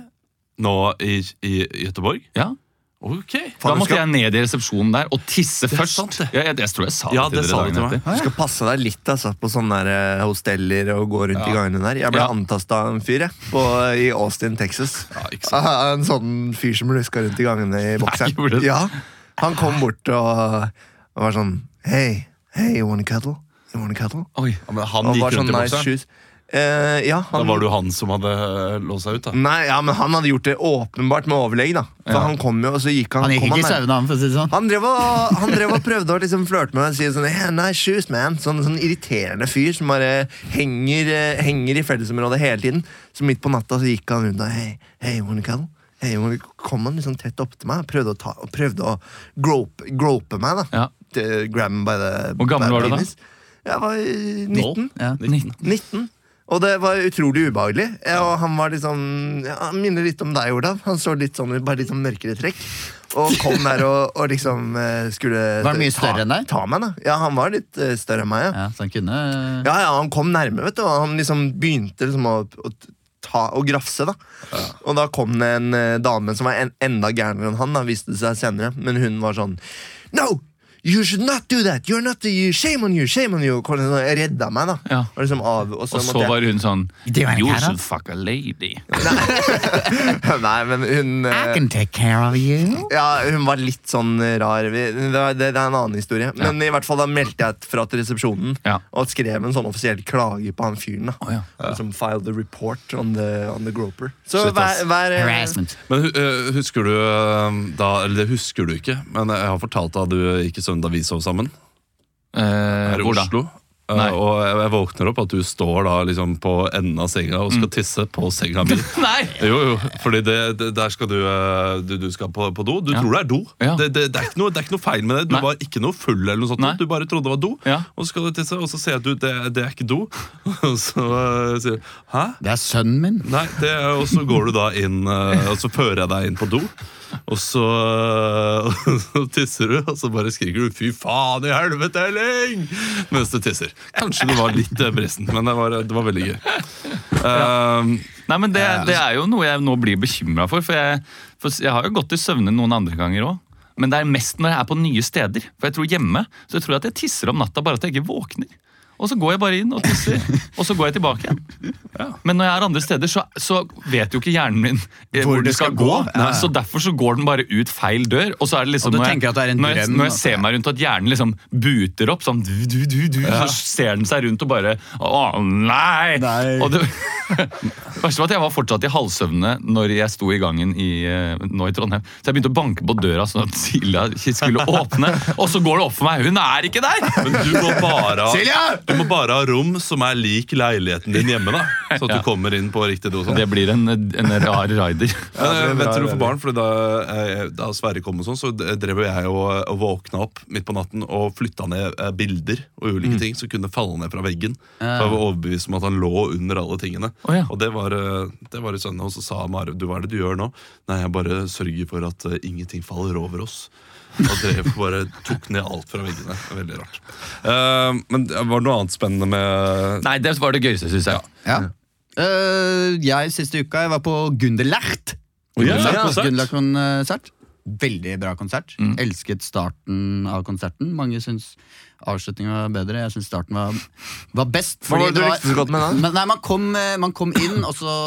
S1: Nå i, i Gøteborg?
S2: ja.
S1: Ok.
S2: Da
S3: du
S2: måtte jeg
S3: skal-
S2: ned i resepsjonen der og tisse først.
S1: sant, det.
S2: Ja, jeg, jeg tror jeg sa det
S1: Ja,
S2: til
S1: det
S2: dere
S1: sa du
S2: dagen
S1: til meg.
S2: etter.
S3: Du
S4: Ja.
S3: skal passe deg litt altså, på sånne der, eh, hosteller og gå rundt i gangene der. Jeg ble
S2: Ja.
S3: antastet av en fyr jeg, på, i Austin, Texas.
S1: ikke
S3: Ah, en sånn fyr som luska rundt i gangene i
S2: gjorde
S3: bokseren.
S2: du?
S3: Ja, han kom bort og, og var sånn Hei, hei, you wanna cuddle? You wanna cuddle?
S2: Oi.
S1: Ja, men han
S3: Og
S1: gikk
S3: var
S1: rundt
S3: sånn
S1: i
S3: nice
S1: bokseren.
S3: shoes. Eh, ja,
S1: Da
S3: han, Mm.
S1: var det jo han som hadde eh, låst seg ut, da.
S3: Nei, ja, men han hadde gjort det åpenbart med overlegg, da. For han kom jo, og så gikk han
S4: Han gikk
S3: kom
S4: ikke i
S3: nær-
S4: søvne, han, for å si det sånn.
S3: han drev, og, han drev og prøvde å liksom flørte med meg og si sånn yeah, nice shoes, man. Sånn, sånn irriterende fyr som bare henger, eh, henger i fellesområdet hele tiden. Så midt på natta så gikk han rundt og hey, hey, wanna cuddle? Hey, wanna cuddle?» kom han liksom tett opp til meg og prøvde å, ta, og prøvde å grope, grope meg. da
S2: Ja.
S3: Til- Grab me by the
S2: Hvor gammel
S3: by
S2: var du da?
S3: penis. Jeg var eh, 19.
S4: Ja.
S2: 19.
S3: 19. Og det var utrolig ubehagelig. Ja, og han var liksom ja, Han minner litt om deg, Olav. Han så litt sånn, bare litt sånn mørkere trekk. Og kom der og, og liksom eh, skulle
S4: Var han mye større enn deg?
S3: Ta, ta meg, da. Ja, han var litt eh, større enn meg, ja.
S4: Ja, så han kunne
S3: ja. Ja, Han kom nærme, vet du. Og han liksom begynte liksom å, å ta og grafse, da. Og da kom det en eh, dame som var en, enda gærnere enn han, da, viste det seg senere. Men hun var sånn No! You should not do that! You're not you, Shame on you! Shame on you! Og liksom redda meg, da.
S2: Ja.
S3: Og liksom av, og så
S2: Og så
S3: måtte jeg-
S2: var hun sånn
S4: Det var en
S2: You
S4: her, da.
S2: should fuck a lady.
S3: Nei, men hun eh,
S4: take care of you.
S3: ja, Hun var litt sånn rar. Vi- Det, var- det, det er en annen historie. Men i hvert fall da meldte jeg fra til resepsjonen
S2: Ja.
S3: og skrev en sånn offisiell klage på han fyren. da
S2: Å, ja.
S3: Og Som filed the report on the, on the groper. Så
S1: Shit, ass.
S3: vær, vær eh,
S4: Harassment.
S1: Men hu- eh, husker du eh, da Eller det husker du ikke, men jeg har fortalt deg at du gikk i søvn da vi sov sammen.
S2: Eh,
S1: Her i
S2: hvor da?
S1: Oslo. Eh,
S2: Nei.
S1: og jeg, jeg våkner opp at du står da liksom på enden av senga og skal tisse på senga mi.
S2: Nei!
S1: Jo, jo, fordi det, det, der skal du, eh, du Du skal på, på do. Du
S2: Ja.
S1: tror det er do.
S2: Ja.
S1: Det, det, det, er ikke noe, det er ikke noe feil med det. Du
S2: Nei.
S1: var ikke noe full, eller noe sånt.
S2: Nei.
S1: Du bare trodde det var do.
S2: Ja.
S1: Og så skal du tisse, og så ser jeg at du, det, det er ikke do. Og så eh, sier du hæ?
S4: Det er sønnen min.
S1: Nei, det, er- og så går du da inn eh, Og så fører jeg deg inn på do Og så, eh, og så tisser du Og så bare skriker du Fy faen i helvete, Elling Mens du tisser Kanskje du var litt eh, bristen Men det var, det var veldig gøy Eh,
S2: Nei, men det, det er jo noe jeg nå blir bekymra for. For jeg, for jeg har jo gått i søvne noen andre ganger òg. Men det er mest når jeg er på nye steder. For jeg tror hjemme så jeg tror jeg at jeg tisser om natta bare at jeg ikke våkner. Og så går jeg bare inn og tisser, og så går jeg tilbake igjen. Men når jeg er andre steder, så, så vet jo ikke hjernen min eh, hvor, den skal, gå. Nei, Så derfor så går den bare ut feil dør. Og så er det liksom
S4: Og du
S2: når,
S4: tenker
S2: jeg,
S4: at det er en
S2: når, jeg,
S4: drøm, altså.
S2: når jeg
S4: at-
S2: ser meg rundt, at hjernen liksom buter opp sånn du, du, du, du, Så ser den seg rundt og bare Å, nei!
S4: Nei.
S2: Og det, Verste var at jeg var fortsatt i halvsøvne når jeg sto i gangen i, eh, nå i Trondheim. Så jeg begynte å banke på døra sånn at Silja ikke skulle åpne. Og så går det opp for meg, hun er ikke der!
S1: Men du må bare ha,
S4: Silja!
S1: Du må bare ha rom som er lik leiligheten din hjemme da Så at du
S2: Ja.
S1: kommer inn på riktig do og sånn.
S2: Det blir en, en rar rider.
S1: Ja, det vet du for barn, for da, eh, da Sverre kom og sånn, så drev jo jeg og, og våkna opp midt på natten og flytta ned eh, bilder og ulike ting som kunne falle ned fra veggen. Så jeg var overbevist om at han lå under alle tingene.
S2: Å, ja.
S1: Og det var, eh, det var i søndag, og så sa Mare du, hva er det du gjør nå? Nei, jeg bare sørger for at eh, ingenting faller over oss. Og drev bare tok ned alt fra veggene. Veldig rart. Eh, men det var noe annet spennende med
S2: Nei, det var det gøyeste, syns jeg.
S4: Ja. Øh, jeg siste uka jeg var på Gunderlert.
S1: konsert.
S4: Gunderlert-konsert. Veldig bra konsert.
S3: Mm.
S4: Elsket starten av konserten. Mange syns avslutningen var bedre. Jeg syns starten var, var best.
S3: Hva var det du likte så godt med den?
S4: Men, nei, man, kom, eh, man kom inn, og så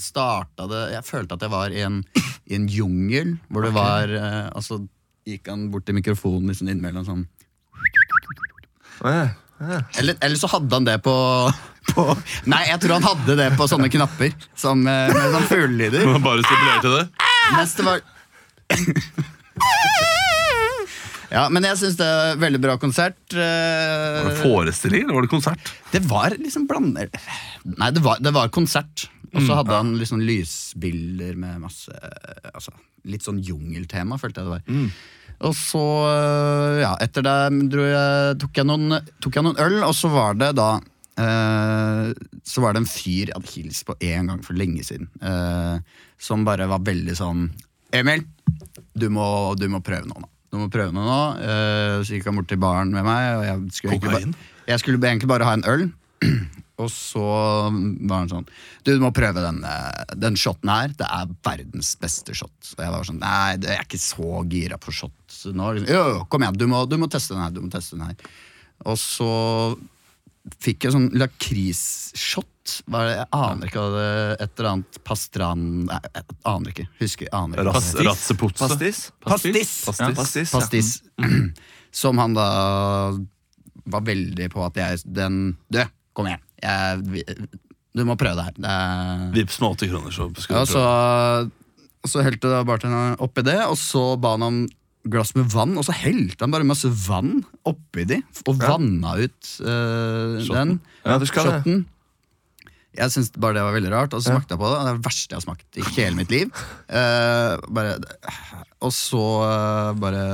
S4: starta det Jeg følte at jeg var i en, i en jungel, hvor det var eh, Og så gikk han bort til mikrofonen liksom innimellom sånn.
S3: eh,
S4: Eller, eller så hadde han det på, på Nei, jeg tror han hadde det på sånne knapper som, eh, med sånn fuglelyder.
S1: Bare stipulerte det.
S4: Mens det var Ja, men jeg syns det er en veldig bra konsert.
S1: Var det
S4: eh,
S1: forestilling eller var det konsert?
S4: Det var liksom blander... Nei, det var, det var konsert. Og så hadde han liksom lysbilder med masse eh, altså, Litt sånn jungeltema, følte jeg det var. Og så, eh, ja, etter det dro jeg, tok, jeg noen, tok jeg noen øl, og så var det da eh, Så var det en fyr jeg hadde hilst på én gang for lenge siden, eh, som bare var veldig sånn Emil, du må, du må prøve noe nå. Du må prøve noe nå. Eh, så gikk han bort til baren med meg, og jeg skulle, egentlig
S5: Kokain?
S4: bare, jeg skulle egentlig bare ha en øl. Og så var han sånn Du, du må prøve den, eh, den shoten her. Det er verdens beste shot. Og jeg var sånn Nei, det- jeg er ikke så gira på shot nå. Liksom, Jo, jo, kom igjen, du må, du må teste den her. Du må teste den her. Og så fikk jeg sånn lakrisshot. Hva er det? Jeg aner ikke hva det Et eller annet pastran Nei, jeg aner ikke. Husker, aner ikke.
S5: Ras- Ratsepotse.
S3: Pastis?
S2: Pastis.
S3: Pastis. Pastis, ja.
S4: Pastis. Som han da var veldig på at jeg Den Du, kom igjen. Jeg, vi- du må prøve det her. Det er
S5: Vips med 80 kroner, så skal
S4: ja,
S5: du
S4: så,
S5: prøve.
S4: og så helte da bartenderen oppi det, og så ba han om glass med vann, og så helte han bare masse vann oppi de, og vanna ut eh, den
S3: Ja, du skal det.
S4: shotten. Jeg syntes bare det var veldig rart, og så smakte jeg på det. og Det er det verste jeg har smakt i hele mitt liv. Eh, bare, og så eh, bare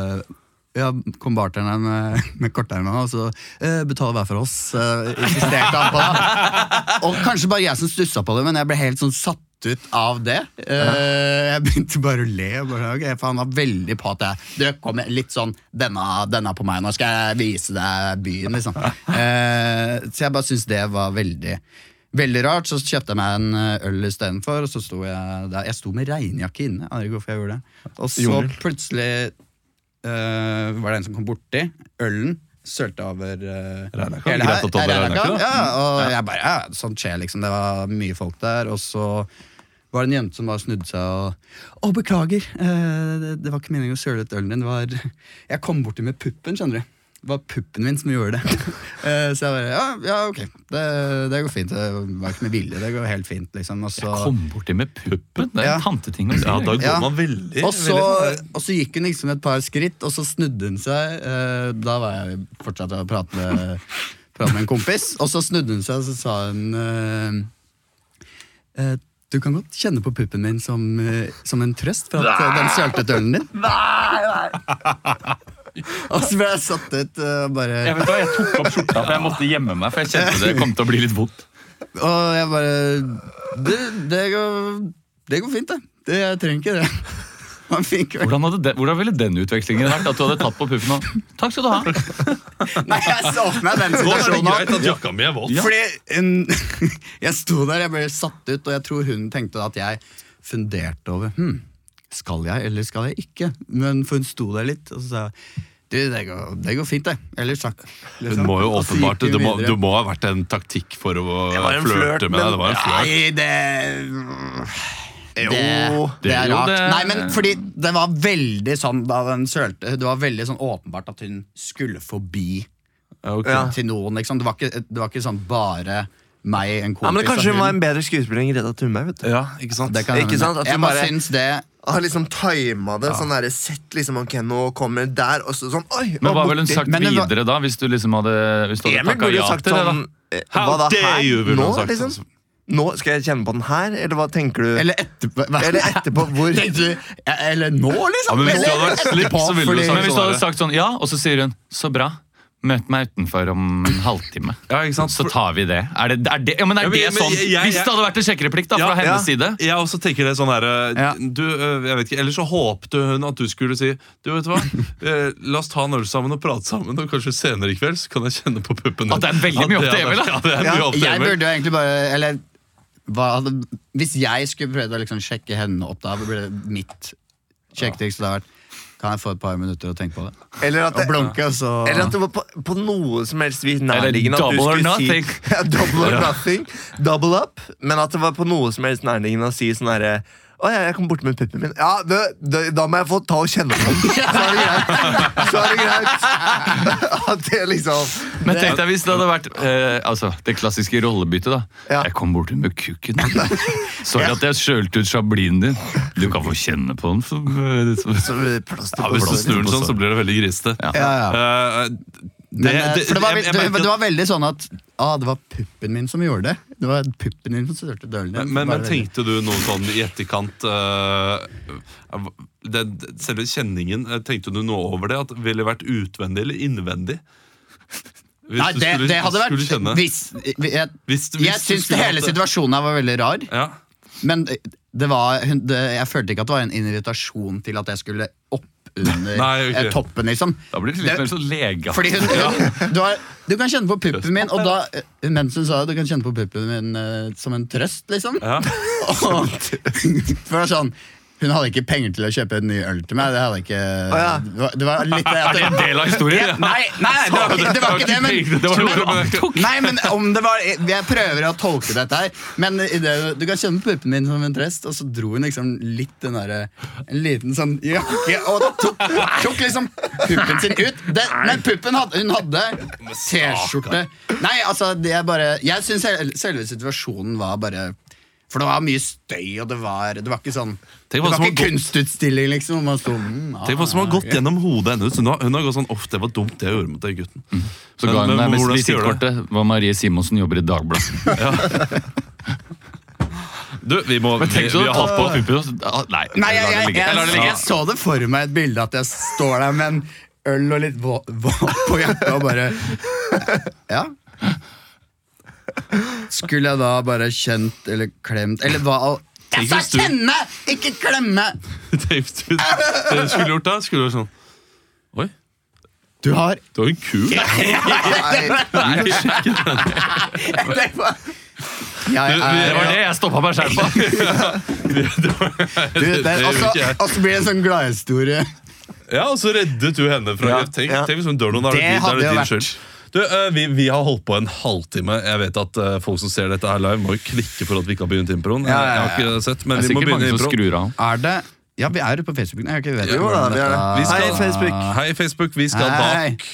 S4: ja, kom bartenderen med, med korterma og så eh, betaler hver for oss. eh, insisterte han på det. Og kanskje bare jeg som stussa på det, men jeg ble helt sånn satt ut av det. Eh, jeg begynte bare å le. Bare, ok, for han var veldig på at jeg Du, kom igjen, litt sånn denne, denne er på meg, nå skal jeg vise deg byen, liksom. Eh, så jeg bare syns det var veldig Veldig rart, så kjøpte jeg meg en eh, øl istedenfor. Og så sto jeg der Jeg sto med regnjakke inne, aner ikke hvorfor jeg gjorde det. Og så plutselig eh, var det en som kom borti ølen, sølte over eh,
S5: Regnjakka.
S4: hele
S5: Greit å ta
S4: her.
S5: over regnjakka, da.
S4: Ja, ja, og jeg bare, ja, sånt skjer liksom Det var mye folk der Og så var det en jente som bare snudde seg og Å, beklager, eh, det, det var ikke meningen å søle ut ølen din Det var, jeg kom borti med puppen, skjønner du det var puppen min som gjorde det Eh, Så jeg bare, ja, ja ok det, det går fint, det var ikke med vilje Det går helt fint liksom Og så,
S2: Jeg kom borti med puppen. Det er
S4: Ja.
S2: en tanteting å si.
S5: Ja, da går
S4: Ja.
S5: man veldig sånn
S4: og så,
S5: veldig-
S4: og så gikk hun liksom et par skritt, og så snudde hun seg. eh, Da var jeg fortsatt å prate med, prate med en kompis. Og så snudde hun seg, og så sa hun eh, eh, Du kan godt kjenne på puppen min som, eh, som en trøst for at eh, den sølte ut ølen din. Og så ble jeg satt ut eh, og bare
S2: Jeg vet hva, jeg tok opp skjorta, for jeg måtte gjemme meg, for jeg kjente det kom til å bli litt vondt.
S4: Og jeg bare Det, det, går, det går fint, det. det. Jeg trenger ikke det. Man fikk vel
S2: Hvordan, hadde den- hvordan ville den utvekslingen vært? At du hadde tatt på puppen og Takk skal du ha.
S4: Nei, jeg savner
S5: Nå er
S4: den
S5: det
S4: situasjonen.
S5: greit at jakka mi er våt.
S4: Fordi en, jeg sto der, jeg ble satt ut, og jeg tror hun tenkte at jeg funderte over hm, Skal jeg, eller skal jeg ikke? Men For hun sto der litt, og så sa jeg du, det går, det går fint, det. Ellers takk.
S5: Hun må jo
S4: Og så gikk
S5: åpenbart
S4: hun
S5: Du må,
S4: videre.
S5: du må ha vært en taktikk for å
S3: var
S5: flørte
S3: en flørt,
S5: med deg. Det var en flørt.
S4: Nei, det
S3: Jo.
S4: det, det er
S2: Jo,
S4: rart.
S2: det-
S4: Nei, men fordi det var veldig sånn da den sølte Det var veldig sånn åpenbart at hun skulle forbi
S3: Ja.
S4: til noen. Ikke sant? Det, var ikke, det var ikke sånn bare meg, en kompis
S3: Ja, men det kanskje
S4: og
S3: hun var
S4: hun.
S3: en bedre skuespiller enn Greta Thunberg. vet du
S5: Ja, ikke sant?
S4: Det kan
S3: Ikke
S4: hende.
S3: sant? At
S4: Jeg
S3: hun
S4: bare
S3: bare-
S4: syns det
S3: Har liksom tima det. Sånn der, sett liksom, ok, nå kommer det der, og så sånn Oi!
S2: Men
S3: og
S2: hva ville hun
S3: borti.
S2: sagt
S4: Men det var-
S2: videre da, hvis du liksom hadde, hvis du hadde
S3: Emil
S2: takka
S3: burde jo
S2: ja
S3: sagt
S2: til det? da?
S3: sånn eh,
S5: How
S3: Hva da
S5: dare
S3: her?
S5: you, ville
S3: Nå,
S5: hun sagt.
S3: liksom?
S2: sånn.
S3: Nå skal jeg kjenne på den her, eller hva tenker du?
S4: Eller etterpå. hva-
S3: Eller etterpå, hvor-
S4: Tenkte du, ja, Eller nå, liksom?
S5: Ja, men hvis du
S4: Eller
S5: hadde vært slipp,
S4: etterpå,
S5: så ville du
S4: fordi-
S5: sagt
S2: Men hvis du
S5: sånn der.
S2: hadde sagt sånn ja, og så sier hun så bra. Møt meg utenfor om en halvtime.
S5: Ja, ikke sant?
S2: Så tar vi det. Er det, er det, ja, men er
S5: Ja, men-
S2: det
S5: men
S2: sånn?
S5: jeg- jeg-
S2: Hvis det hadde vært en sjekkereplikk da, fra
S5: Ja,
S2: hennes side.
S5: Jeg også tenker det sånn her eh,
S4: Ja.
S5: du, eh, jeg vet ikke, Eller så håpte hun at du skulle si Du vet hva, eh, la oss ta en øl sammen og prate sammen, og kanskje senere i kveld så kan jeg kjenne på puppen din.
S2: At det er veldig mye opp til
S5: er-
S2: Emil, da.
S5: Ja, det er mye opp til
S4: Jeg
S5: Emil.
S4: burde jo egentlig bare Eller hva hadde, Hvis jeg skulle prøvd å liksom sjekke henne opp, da burde mitt sjekketriks da vært Kan jeg få et par minutter å tenke på det?
S3: eller at
S4: Og
S3: det,
S4: blunke, og så
S3: eller at det var på, på noe som helst vis nærliggende at du
S2: double or
S3: skulle si
S2: nothing.
S3: ja, Double or nothing. Double up. Men at det var på noe som helst nærliggende å si sånn herre å ja, jeg kom bort med puppen min. Ja, det, det, Da må jeg få ta og kjenne på den. Så er det greit. Så er det greit. At det liksom
S2: Men tenk deg hvis det hadde vært eh, altså, det klassiske rollebyttet. da.
S3: Ja.
S2: Jeg kom borti med kukken. Sorry at jeg skjølte ut sjablinen din. Du kan få kjenne på den. som, eh, som-
S5: Ja, hvis du snur den sånn, så blir det veldig grisete.
S2: Ja.
S4: Ja, ja.
S5: Eh, det,
S4: Men, eh, for det, var,
S5: jeg- jeg
S4: det,
S5: merker
S4: det
S5: at-
S4: var veldig sånn at ah, det var puppen min som gjorde det. det var puppen din som størte dølen din.
S1: Men, men,
S4: Bare
S1: men
S4: veldig-
S1: tenkte du noe sånn i etterkant eh, av- den, Selve kjenningen, eh, tenkte du noe over det? At det ville vært utvendig eller innvendig? Hvis
S4: Nei,
S1: du
S4: det,
S1: skulle-
S4: det hadde
S1: skulle
S4: vært
S1: kjenne.
S4: hvis, jeg,
S1: Hvis- hvis
S4: jeg
S1: du
S4: syns
S1: skulle
S4: hele
S1: hatt det.
S4: situasjonen her var veldig rar.
S1: Ja.
S4: Men det var, hun, det, jeg følte ikke at det var en invitasjon til at jeg skulle opp under
S1: Nei, ok.
S4: eh, toppen, liksom.
S2: Da blir det litt
S4: Det-
S2: mer sånn lege.
S4: Fordi hun, du, har, du kan kjenne på puppen min, og da, eh, mens hun sa det, du kan kjenne på puppen min eh, som en trøst, liksom.
S1: Ja.
S4: Og, for det er sånn, hun hadde ikke penger til å kjøpe en ny øl til meg. Det hadde jeg ikke
S3: ja.
S4: det, var, det var litt at
S2: En del av historien.
S4: Nei, nei, nei, det var ikke det, var ikke det men
S1: Det var noe med-
S4: Nei, men om det var Jeg prøver å tolke dette her. Men i det, du kan kjenne puppen min som en trest, og så dro hun liksom litt den derre En liten sånn jakke og tok, tok liksom puppen sin ut. Det, men puppen hadde Hun hadde T-skjorte. Nei, altså, det er bare Jeg syns selve situasjonen var bare for det var mye støy, og det var, det var ikke sånn Det
S1: Tenk hva
S4: var
S1: som
S4: ikke
S1: har gått-
S4: kunstutstilling, liksom. Man sto, mm,
S1: Tenk hva som har
S4: ah,
S1: gått
S4: ok.
S1: gjennom hodet hennes. Hun har, hun har gått sånn Uff, det var dumt det jeg gjorde mot den gutten.
S2: Mm. Så ga hun
S1: Men-
S2: deg
S1: men
S2: mest
S1: hvordan skal jeg gjøre det?
S2: visittkortet hva Marie Simonsen jobber i Dagbladet.
S1: Du, vi må vi,
S2: Tenk så
S1: vi har holdt på.
S2: puppen, og så- ah, Nei,
S4: Nei, jeg,
S2: la det
S4: jeg,
S2: ligge.
S4: jeg,
S2: La det ligge.
S4: jeg så det for meg et bilde at jeg står der med en øl og litt våt på jakka og bare Ja. Skulle jeg da bare kjent eller klemt Eller hva al- Jeg
S1: Tenk
S4: sa
S1: hvis du-
S4: kjenne, ikke klemme!
S1: Tenk du- Det du skulle gjort da, skulle vært sånn Oi,
S4: Du har
S1: du har en kul
S4: Det var- Jeg
S2: Det var
S4: er
S2: det jeg stoppa meg selv på.
S4: du, det,
S1: det
S4: og
S1: gjorde ikke
S4: så-
S1: jeg.
S4: Og så blir det en sånn gladhistorie.
S1: Ja, og så reddet du henne fra grep. Tenk,
S3: ja.
S1: tenk hvis hun dør noen, da er
S4: Det
S1: det, din- da er det
S4: hadde jo
S1: din
S4: vært-
S1: skyld. Du, eh, vi, vi har holdt på en halvtime. Jeg vet at eh, folk som ser dette her live, må jo klikke for at vi ikke har begynt improen.
S4: Ja, ja, ja.
S1: Jeg har ikke sett,
S2: Det
S1: men
S2: er
S1: vi må
S2: sikkert mange
S1: begynne
S2: som
S1: improen.
S2: skrur av.
S4: Er det Ja, vi er jo på Facebook. Nei, jeg vet ikke
S3: Jo da,
S4: hvordan
S3: vi er det.
S4: dette-
S1: Vi skal-
S3: Hei, Facebook.
S1: Hei, Facebook. Vi skal
S4: Hei.
S1: bak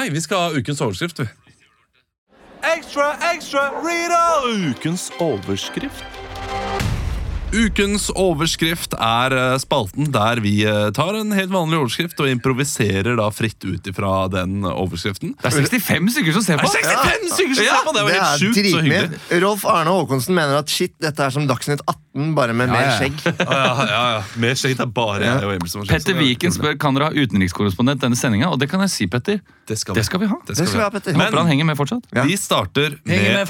S1: Nei, vi skal ha ukens overskrift, vi.
S6: Ukens overskrift.
S1: Ukens overskrift er eh, spalten der vi eh, tar en helt vanlig overskrift og improviserer da fritt ut ifra den overskriften.
S2: Det er 65 stykker som ser på!
S1: 65 stykker som ser på! Det var
S3: Det
S1: helt
S3: er
S1: sjukt så hyggelig.
S3: dritmye. Rolf Arne Håkonsen mener at shit, dette er som Dagsnytt 18, bare med mer
S4: ja.
S3: skjegg.
S1: Ja, ja, ja, ja. Mer skjegg. Det er bare jeg og Emil som har skjegg.
S2: Petter Viken spør kan dere ha utenrikskorrespondent denne sendinga, og det kan jeg si, Petter.
S1: Det skal
S2: Det skal vi ha.
S3: Det skal vi ha, Petter.
S2: Jeg håper han henger med fortsatt.
S3: Ja.
S1: Vi starter med,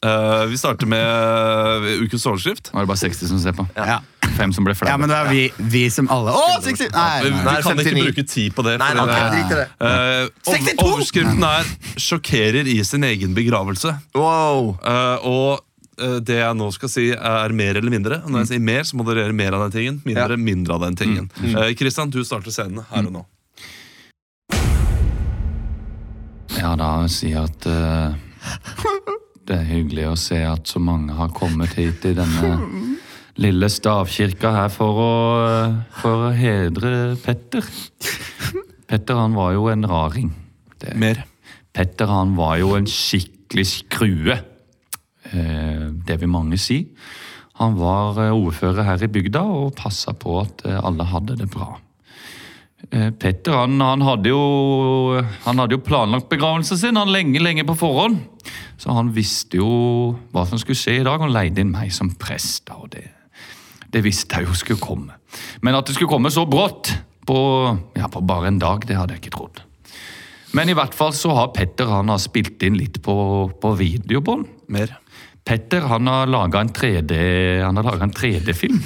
S1: Eh, Vi starter med eh, ukens overskrift.
S2: Nå er det bare 60 som ser på.
S4: Ja.
S2: Fem som ble
S4: Ja,
S2: flaue.
S4: men det er vi, vi som alle Å, 60! Nei,
S1: Vi
S4: nei.
S1: kan
S3: 59.
S1: ikke bruke tid på det.
S3: Nei, nei,
S1: fordi
S3: nei,
S1: det-
S3: drit i det.
S1: Eh, over,
S4: 62!
S1: overskriften er 'Sjokkerer i sin egen begravelse'.
S3: Wow.
S1: Eh, og eh, det jeg nå skal si, er mer eller mindre. Og Når jeg sier mer, så må dere gjøre mer av den tingen. Mindre, mindre av den tingen. Eh, Christian, du starter scenen her og nå.
S2: Ja, da si at eh, det er hyggelig å se at så mange har kommet hit i denne lille stavkirka her for å, eh, for å hedre Petter. Petter han var jo en raring. Det- Petter han var jo en skikkelig skrue. Eh, Det vil mange si. Han var eh, ordfører her i bygda og passa på at eh, alle hadde det bra. Eh, Petter han, han, hadde jo, han hadde jo planlagt begravelsen sin han lenge, lenge på forhånd. Så han visste jo hva som skulle skje i dag. Han leide inn meg som prest. da, og det, det visste jeg jo skulle komme. Men at det skulle komme så brått, på, ja, på bare en dag, det hadde jeg ikke trodd. Men i hvert fall så har Petter han har spilt inn litt på, på videobånd.
S1: Mer.
S2: Petter han har laga en 3D-film. Han har laget en 3D-film.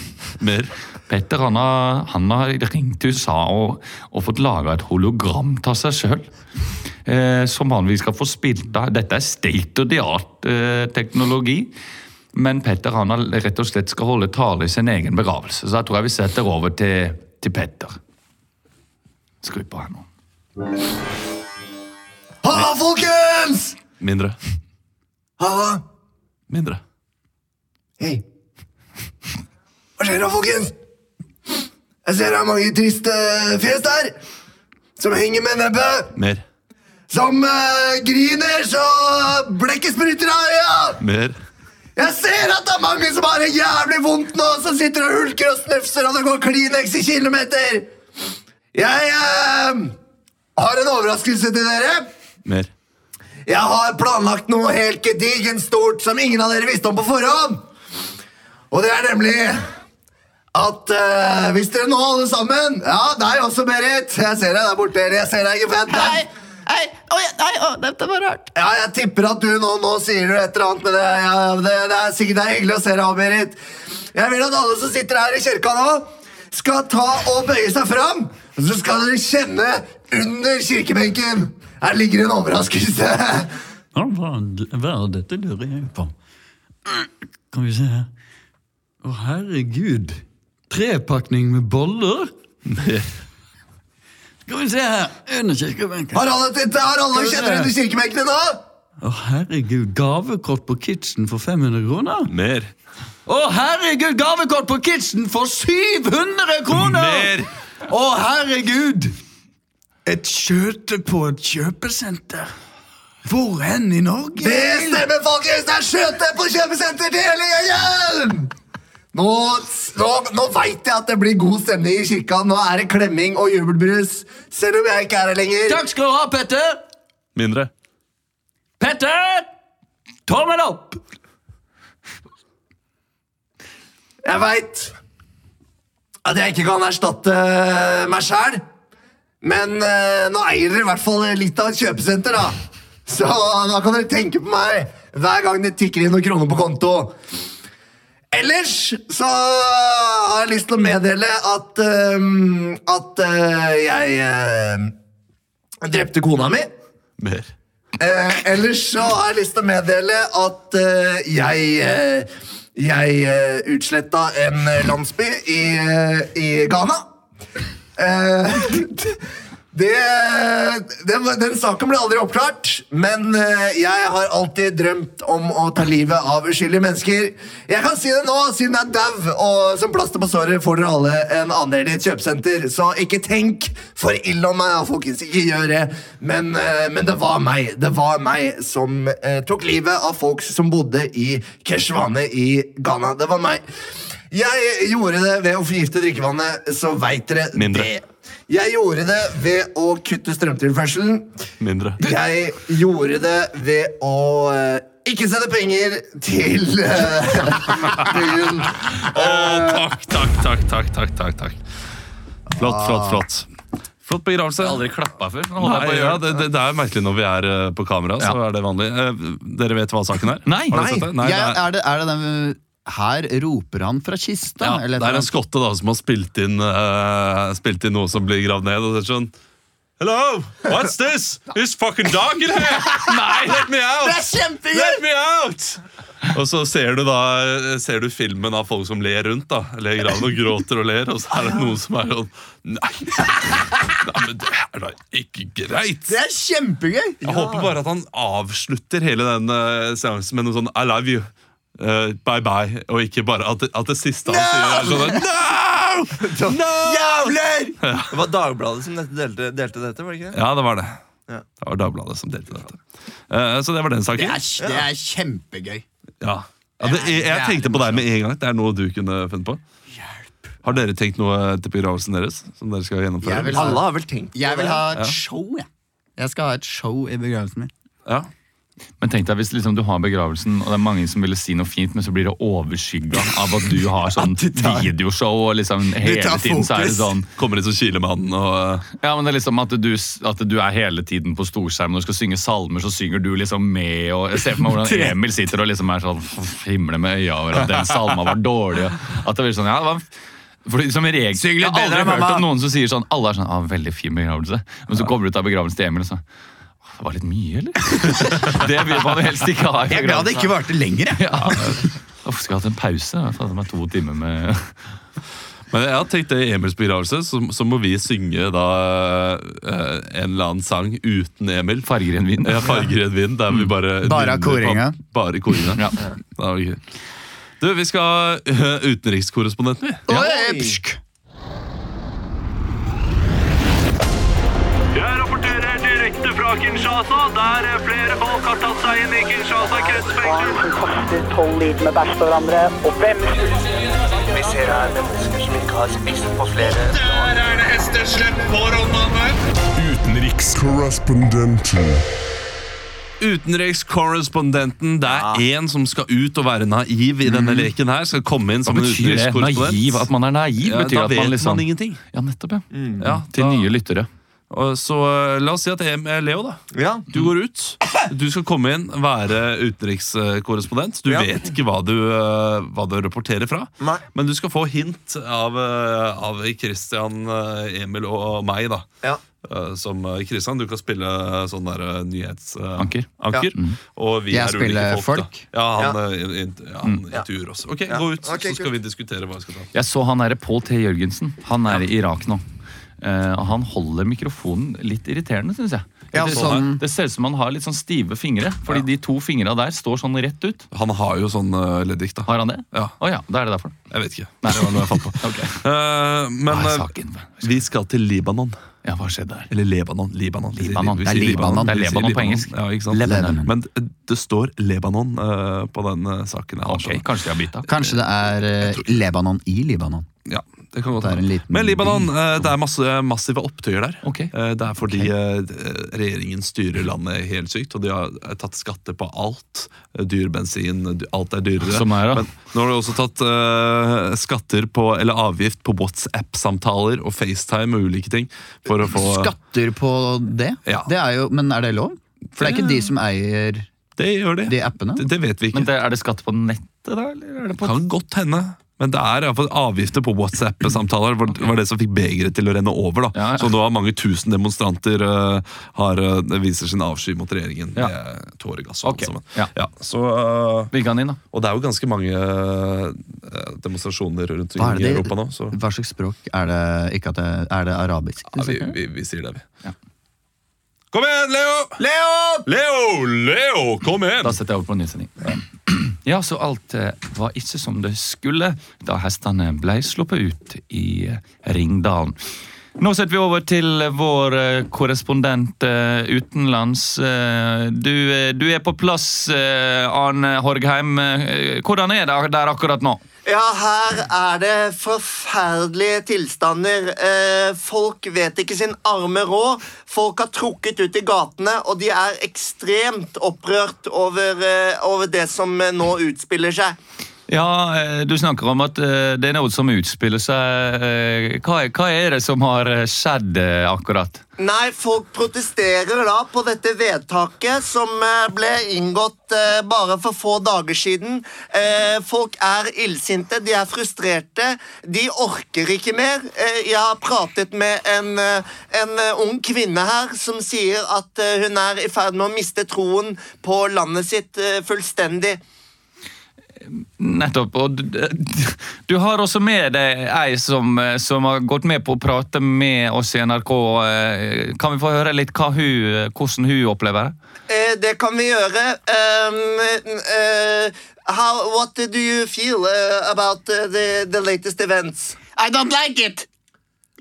S1: Mer.
S2: Petter han har, han har ringt til USA og, og fått laga et hologram av seg sjøl. Eh, som han vi skal få spilt av. Dette er state of the art-teknologi. Men Petter han har, rett og slett skal holde tale i sin egen begravelse. Så da tror jeg vi setter over til, til Petter. Skru på her nå.
S3: Halla, folkens!
S1: Mindre.
S3: Halla.
S1: Mindre.
S3: Hei. Hva skjer da, folkens? Jeg ser det er mange triste fjes der. Som henger med nebbet.
S1: Mer.
S3: Som eh, griner så blekket spruter av øya.
S1: Mer.
S3: Jeg ser at det er mange som har det jævlig vondt nå, som sitter og hulker og snufser, og det går Kleenex i kilometer. ehm, Jeg eh, har en overraskelse til dere.
S1: Mer.
S3: Jeg har planlagt noe helt gedigent stort som ingen av dere visste om på forhånd. Og det er nemlig at eh, hvis dere nå alle sammen Ja, deg også, Berit. Jeg ser deg der borte. Jeg ser deg, Gepet.
S7: Nei, nei, oi, nei, å, dette var rart.
S3: Ja, jeg tipper at du nå, nå sier du et eller annet, men det, ja, det, det er sikkert det er hyggelig å se deg òg, Berit. Jeg vil at alle som sitter her i kirka nå, skal ta og bøye seg fram. Og så skal dere kjenne under kirkebenken. Her ligger en overraskelse.
S8: Ja, hva, hva er dette lurer jeg på? Kan vi se her. Å, herregud. Trepakning med boller? Skal vi se her. Under kirkebenken.
S3: Har alle, titt- har alle kjenner under kirkebenkene nå?
S8: Å, herregud. Gavekort på Kitchen for 500 kroner?
S1: Mer.
S8: Å, herregud, gavekort på Kitchen for 700 kroner!
S1: Mer!
S8: Å, herregud! Et kjøte på et kjøpesenter. Hvor hen i Norge?
S3: Det stemmer, folkens! Det er skjøte på kjøpesenter til hele gjengen! Nå, nå, nå veit jeg at det blir god stemning i kirka. Nå er det klemming og jubelbrus. Selv om jeg ikke er her lenger.
S8: Takk skal du ha, Petter!
S1: Mindre.
S8: Petter! Tommel opp!
S3: Jeg veit at jeg ikke kan erstatte eh, meg sjæl, men eh, nå eier dere i hvert fall litt av et kjøpesenter, da. Så da kan dere tenke på meg hver gang det tikker inn noen kroner på konto. Ellers så har jeg lyst til å meddele at eh, at eh, jeg eh, drepte kona mi.
S1: Mer.
S3: Eh, ellers så har jeg lyst til å meddele at eh, jeg eh, Jeg eh, utsletta en eh, landsby i, eh, i Ghana. Eh, det, den, den saken ble aldri oppklart, men eh, jeg har alltid drømt om å ta livet av uskyldige mennesker. Jeg kan si det nå, siden jeg er dau, og som plaster på såret får dere alle en andel i et kjøpesenter. Så ikke tenk for ille om meg, ja, folkens. Ikke gjør det. Men, eh, men det var meg. Det var meg som eh, tok livet av folk som bodde i Keshwane i Ghana. Det var meg. Jeg gjorde det ved å forgifte drikkevannet, så veit dere
S1: Mindre.
S3: det. Jeg gjorde det ved å kutte strømtilførselen.
S1: Mindre.
S3: Jeg gjorde det ved å eh, ikke sende penger til eh, byen.
S1: Takk, takk, takk, takk, takk, takk, takk. Flott, flott, flott. Flott begravelse.
S2: Jeg har aldri klappa før. Nå holder jeg på
S1: Nei,
S2: å
S1: ja,
S2: gjøre det.
S1: det, det, det er jo merkelig når vi er eh, på kamera, så er det vanlig. Eh, Dere vet hva saken er?
S2: Nei.
S1: Har dere
S2: Nei.
S1: sett det? Nei,
S4: jeg,
S1: det er,
S4: er, det, er det den Her roper han fra kista?
S1: ja,
S4: eller et
S1: det er
S4: eller
S1: en skotte da, som har spilt inn, eh, spilt inn noe som blir gravd ned. Og det er sånn Hello, what's this? It's fucking dog in here! Nei, let me out!
S7: Det er kjempegøy!
S1: Let me out! Og så ser du da Ser du filmen av folk som ler rundt. da Ler i graven og gråter og ler, og så er det noen som er sånn Nei, Nei men det er da ikke greit!
S7: Det er kjempegøy!
S1: Jeg håper bare at han avslutter hele den eh, seansen med noe sånn I love you. eh, bye bye. Og ikke bare at, at det siste han sier, er sånn No! no!
S3: Jævler! Det var Dagbladet som dette delte, delte dette, var det ikke det?
S1: Ja, det var det. Det var Dagbladet som delte dette. Eh, så det var den
S4: Det
S1: saken.
S4: er, det er kjempegøy.
S1: Ja. Ja, det, jeg, jeg tenkte på deg med en gang. Det er noe du kunne funnet på. Har dere tenkt noe til begravelsen deres? Som dere skal
S4: Jeg
S1: gjennomføre?
S4: vil ha,
S3: har vel tenkt
S4: jeg vil ha et show, jeg. Jeg skal ha et show i begravelsen min.
S1: Ja.
S2: Men tenk deg hvis liksom du har begravelsen, og det er mange som ville si noe fint, men så blir det overskygga av at du har sånn videoshow, og liksom hele
S4: tar
S2: tiden så er det
S4: fokus.
S2: sånn
S1: Kommer inn som Kilemannen og eh,
S2: Ja, men det er liksom at du, at du er hele tiden på storskjermen og skal synge salmer, så synger du liksom med og Jeg ser for meg hvordan Emil sitter og liksom er sånn f- himler med øya over at den salma var dårlig. og At det blir sånn, ja, det var... Fordi som regel,
S4: Syng
S2: Jeg
S4: litt
S2: har aldri
S4: bedre,
S2: hørt
S4: mamma.
S2: om noen som sier sånn Alle er sånn, ah, veldig fin begravelse. Men så kommer du ut av begravelsen til Emil og så «Åh, Det var litt mye, eller? det vil man jo helst ikke ha. i
S4: Jeg er glad det
S2: begravelsen.
S4: ikke varte lenger. jeg.
S2: Ja. Uff, skulle hatt en pause. Jeg har fått meg to timer med
S1: Men jeg har tenkt det i Emils begravelse, så, så må vi synge da eh, en eller annen sang uten Emil.
S2: farger i en vin.
S1: Ja, farger i en vind, der vi bare
S4: Mm. Bare av koringa.
S1: Bare koringa.
S2: Ja.
S1: Da var det gøy. Du, vi skal ha eh, utenrikskorrespondenten, vi.
S4: Oi, psk.
S9: Jeg rapporterer direkte fra Kinshasa, der flere folk har tatt seg inn i Kinshasa kretsfengsel.
S10: som kaster tolv liter med bæsj på hverandre. Og hvem
S3: Vi ser her mennesker som ikke har spist på flere
S9: Der er det hesteslepp på Rondane.
S11: Utenrikskorrespondenten.
S1: Utenrikskorrespondenten. Det er én som skal ut og være naiv i denne leken her. Skal komme inn
S2: Mhm. Hva
S1: som en
S2: betyr det?
S1: utenrikskorrespondent.
S2: Naiv? At man er naiv?
S1: Ja,
S2: betyr
S1: da
S2: at
S1: vet
S2: man liksom
S1: man ingenting.
S2: Ja, nettopp, ja.
S1: Ja,
S2: Til
S1: da-
S2: nye lyttere.
S1: Og Så eh, la oss si at det er Leo, da.
S12: Ja.
S1: Du går ut. Du skal komme inn, være utenrikskorrespondent. Du
S12: Ja.
S1: vet ikke hva du, eh, hva du rapporterer fra,
S12: Nei.
S1: men du skal få hint av, eh, av Christian, eh, Emil og meg, da.
S12: Ja.
S1: Eh, Som eh, Christian, du kan spille sånn der eh, nyhets... eh,
S2: Anker.
S1: anker. Og vi
S4: Jeg
S1: er ulike
S4: spiller
S1: folk. da.
S4: folk.
S1: Ja, han, eh, in- ja, han intervjuer oss. Ok,
S12: Ja.
S1: gå ut,
S12: Ok,
S1: så skal vi diskutere hva vi skal ta.
S2: Jeg så han derre Pål T. Jørgensen. Han er i Irak nå. Eh, og han holder mikrofonen litt irriterende, syns jeg.
S4: Ja,
S2: det,
S4: sånn-
S2: det ser ut som han har litt sånn stive fingre, fordi de to fingra der står sånn rett ut.
S1: Han har jo sånn eh, leddgikt, da.
S2: Har han det?
S1: Ja.
S2: Å ja, da er det derfor.
S1: Jeg vet ikke. Det var noe jeg fant på.
S2: Ok.
S1: Eh, men
S2: Hva er
S1: eh,
S2: saken?
S1: vi skal til Libanon.
S2: Ja, hva skjedde der?
S1: Eller Lebanon. Libanon. Vi sier-
S2: Libanon.
S1: vi
S2: Det er
S1: sier
S2: Libanon. Det er
S1: Vi sier
S2: Lebanon på engelsk.
S1: Ja, ikke sant?
S2: Lebanon.
S1: Men eh, det står Lebanon eh, på den eh, saken. her,
S2: Ok,
S1: altså.
S2: Kanskje de har bytta.
S4: Kanskje det er eh, Lebanon i Libanon.
S1: Ja, det kan godt
S4: Det er en
S1: være.
S4: liten
S1: Men Libanon,
S4: by.
S1: eh, det er masse massive opptøyer der.
S2: Ok.
S1: Eh, Det er fordi eh, regjeringen styrer landet helt sykt, og de har eh, tatt skatter på alt. Eh, Dyr bensin, dy- alt er dyrere.
S2: Som er, da.
S1: Men nå har de også tatt eh, skatter på, eller avgift på WhatsApp-samtaler og FaceTime og ulike ting. For å få
S4: Skatter på det?
S1: Ja.
S4: det er jo, men er det lov? For det er ikke de som eier
S1: Det gjør de.
S4: de appene?
S1: Det, det vet vi ikke.
S2: Men det, er det skatt på nettet, da? Eller er det
S1: Det
S2: på
S1: kan godt hende. Men det er i hvert fall avgifter på WhatsApp-samtaler. var- var det som fikk begeret til å renne over. da.
S2: Ja, ja.
S1: Så nå har mange tusen demonstranter eh, har, eh, viser sin avsky mot regjeringen.
S2: Ja.
S1: Med tåregass og
S2: Ok,
S1: alt sammen.
S2: ja.
S1: så, eh,
S2: Vigga han inn, da?
S1: og det er jo ganske mange eh, demonstrasjoner rundt
S4: Hva er
S1: omkring i
S4: det?
S1: Europa nå. Så
S4: Hva slags språk er det? Ikke at det, er det arabisk?
S1: ja, vi, vi, vi sier det, vi. Kom igjen, Leo! Leo! Leo, kom igjen!
S2: Da setter jeg over på nysending. Ja, så alt eh, var ikke som det skulle da hestene ble sluppet ut i eh, Ringdalen. Nå setter vi over til vår eh, korrespondent eh, utenlands. Eh, Du, eh, du er på plass, eh, Arne Horgheim. Eh, Hvordan er det der akkurat nå?
S3: Ja, her er det forferdelige tilstander. Eh, folk vet ikke sin arme råd. Folk har trukket ut i gatene, og de er ekstremt opprørt over, eh, over det som eh, nå utspiller seg.
S2: Ja, eh, Du snakker om at eh, det er noe som utspiller seg. Eh, Hva, hva er det som har eh, skjedd eh, akkurat?
S3: Nei, folk protesterer da på dette vedtaket som eh, ble inngått eh, bare for få dager siden. Eh, Folk er illsinte, de er frustrerte, de orker ikke mer. Eh, Jeg har pratet med en, eh, en eh, ung kvinne her som sier at eh, hun er i ferd med å miste troen på landet sitt eh, fullstendig.
S2: Nettopp. Og du, du har også med deg ei som, eh, som har gått med på å prate med oss i NRK. Eh, Kan vi få høre litt hva hun, hvordan hun opplever det?
S3: Eh, det kan vi gjøre. Um, eh, how, what do you feel eh, about eh, the, the latest events?
S13: I don't like it.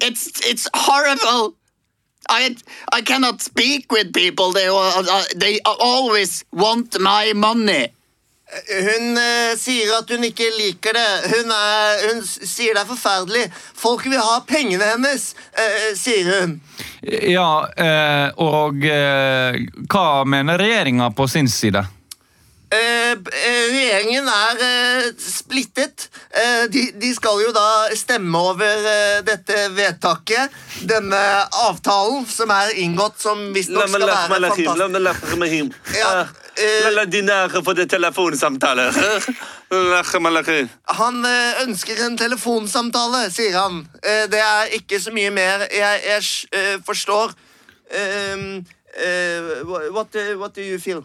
S13: It's it's horrible. I I cannot speak with people. They al- uh, they always want my money.
S3: Hun eh, sier at hun ikke liker det. Hun, er, hun s- sier det er forferdelig. Folk vil ha pengene hennes, eh, sier hun.
S2: Ja, eh, og eh, hva mener regjeringa på sin side?
S3: Eh, b- eh, regjeringen er eh, splittet. Eh, de, de skal jo da stemme over eh, dette vedtaket. Denne avtalen som er inngått, som visstnok skal være fantastisk. Ja, eh,
S14: for det telefonsamtaler.
S3: Han eh, ønsker en telefonsamtale, sier han. Eh, det er ikke så mye mer. Jeg, jeg s- eh, forstår. Um, eh, what, eh, what do you feel?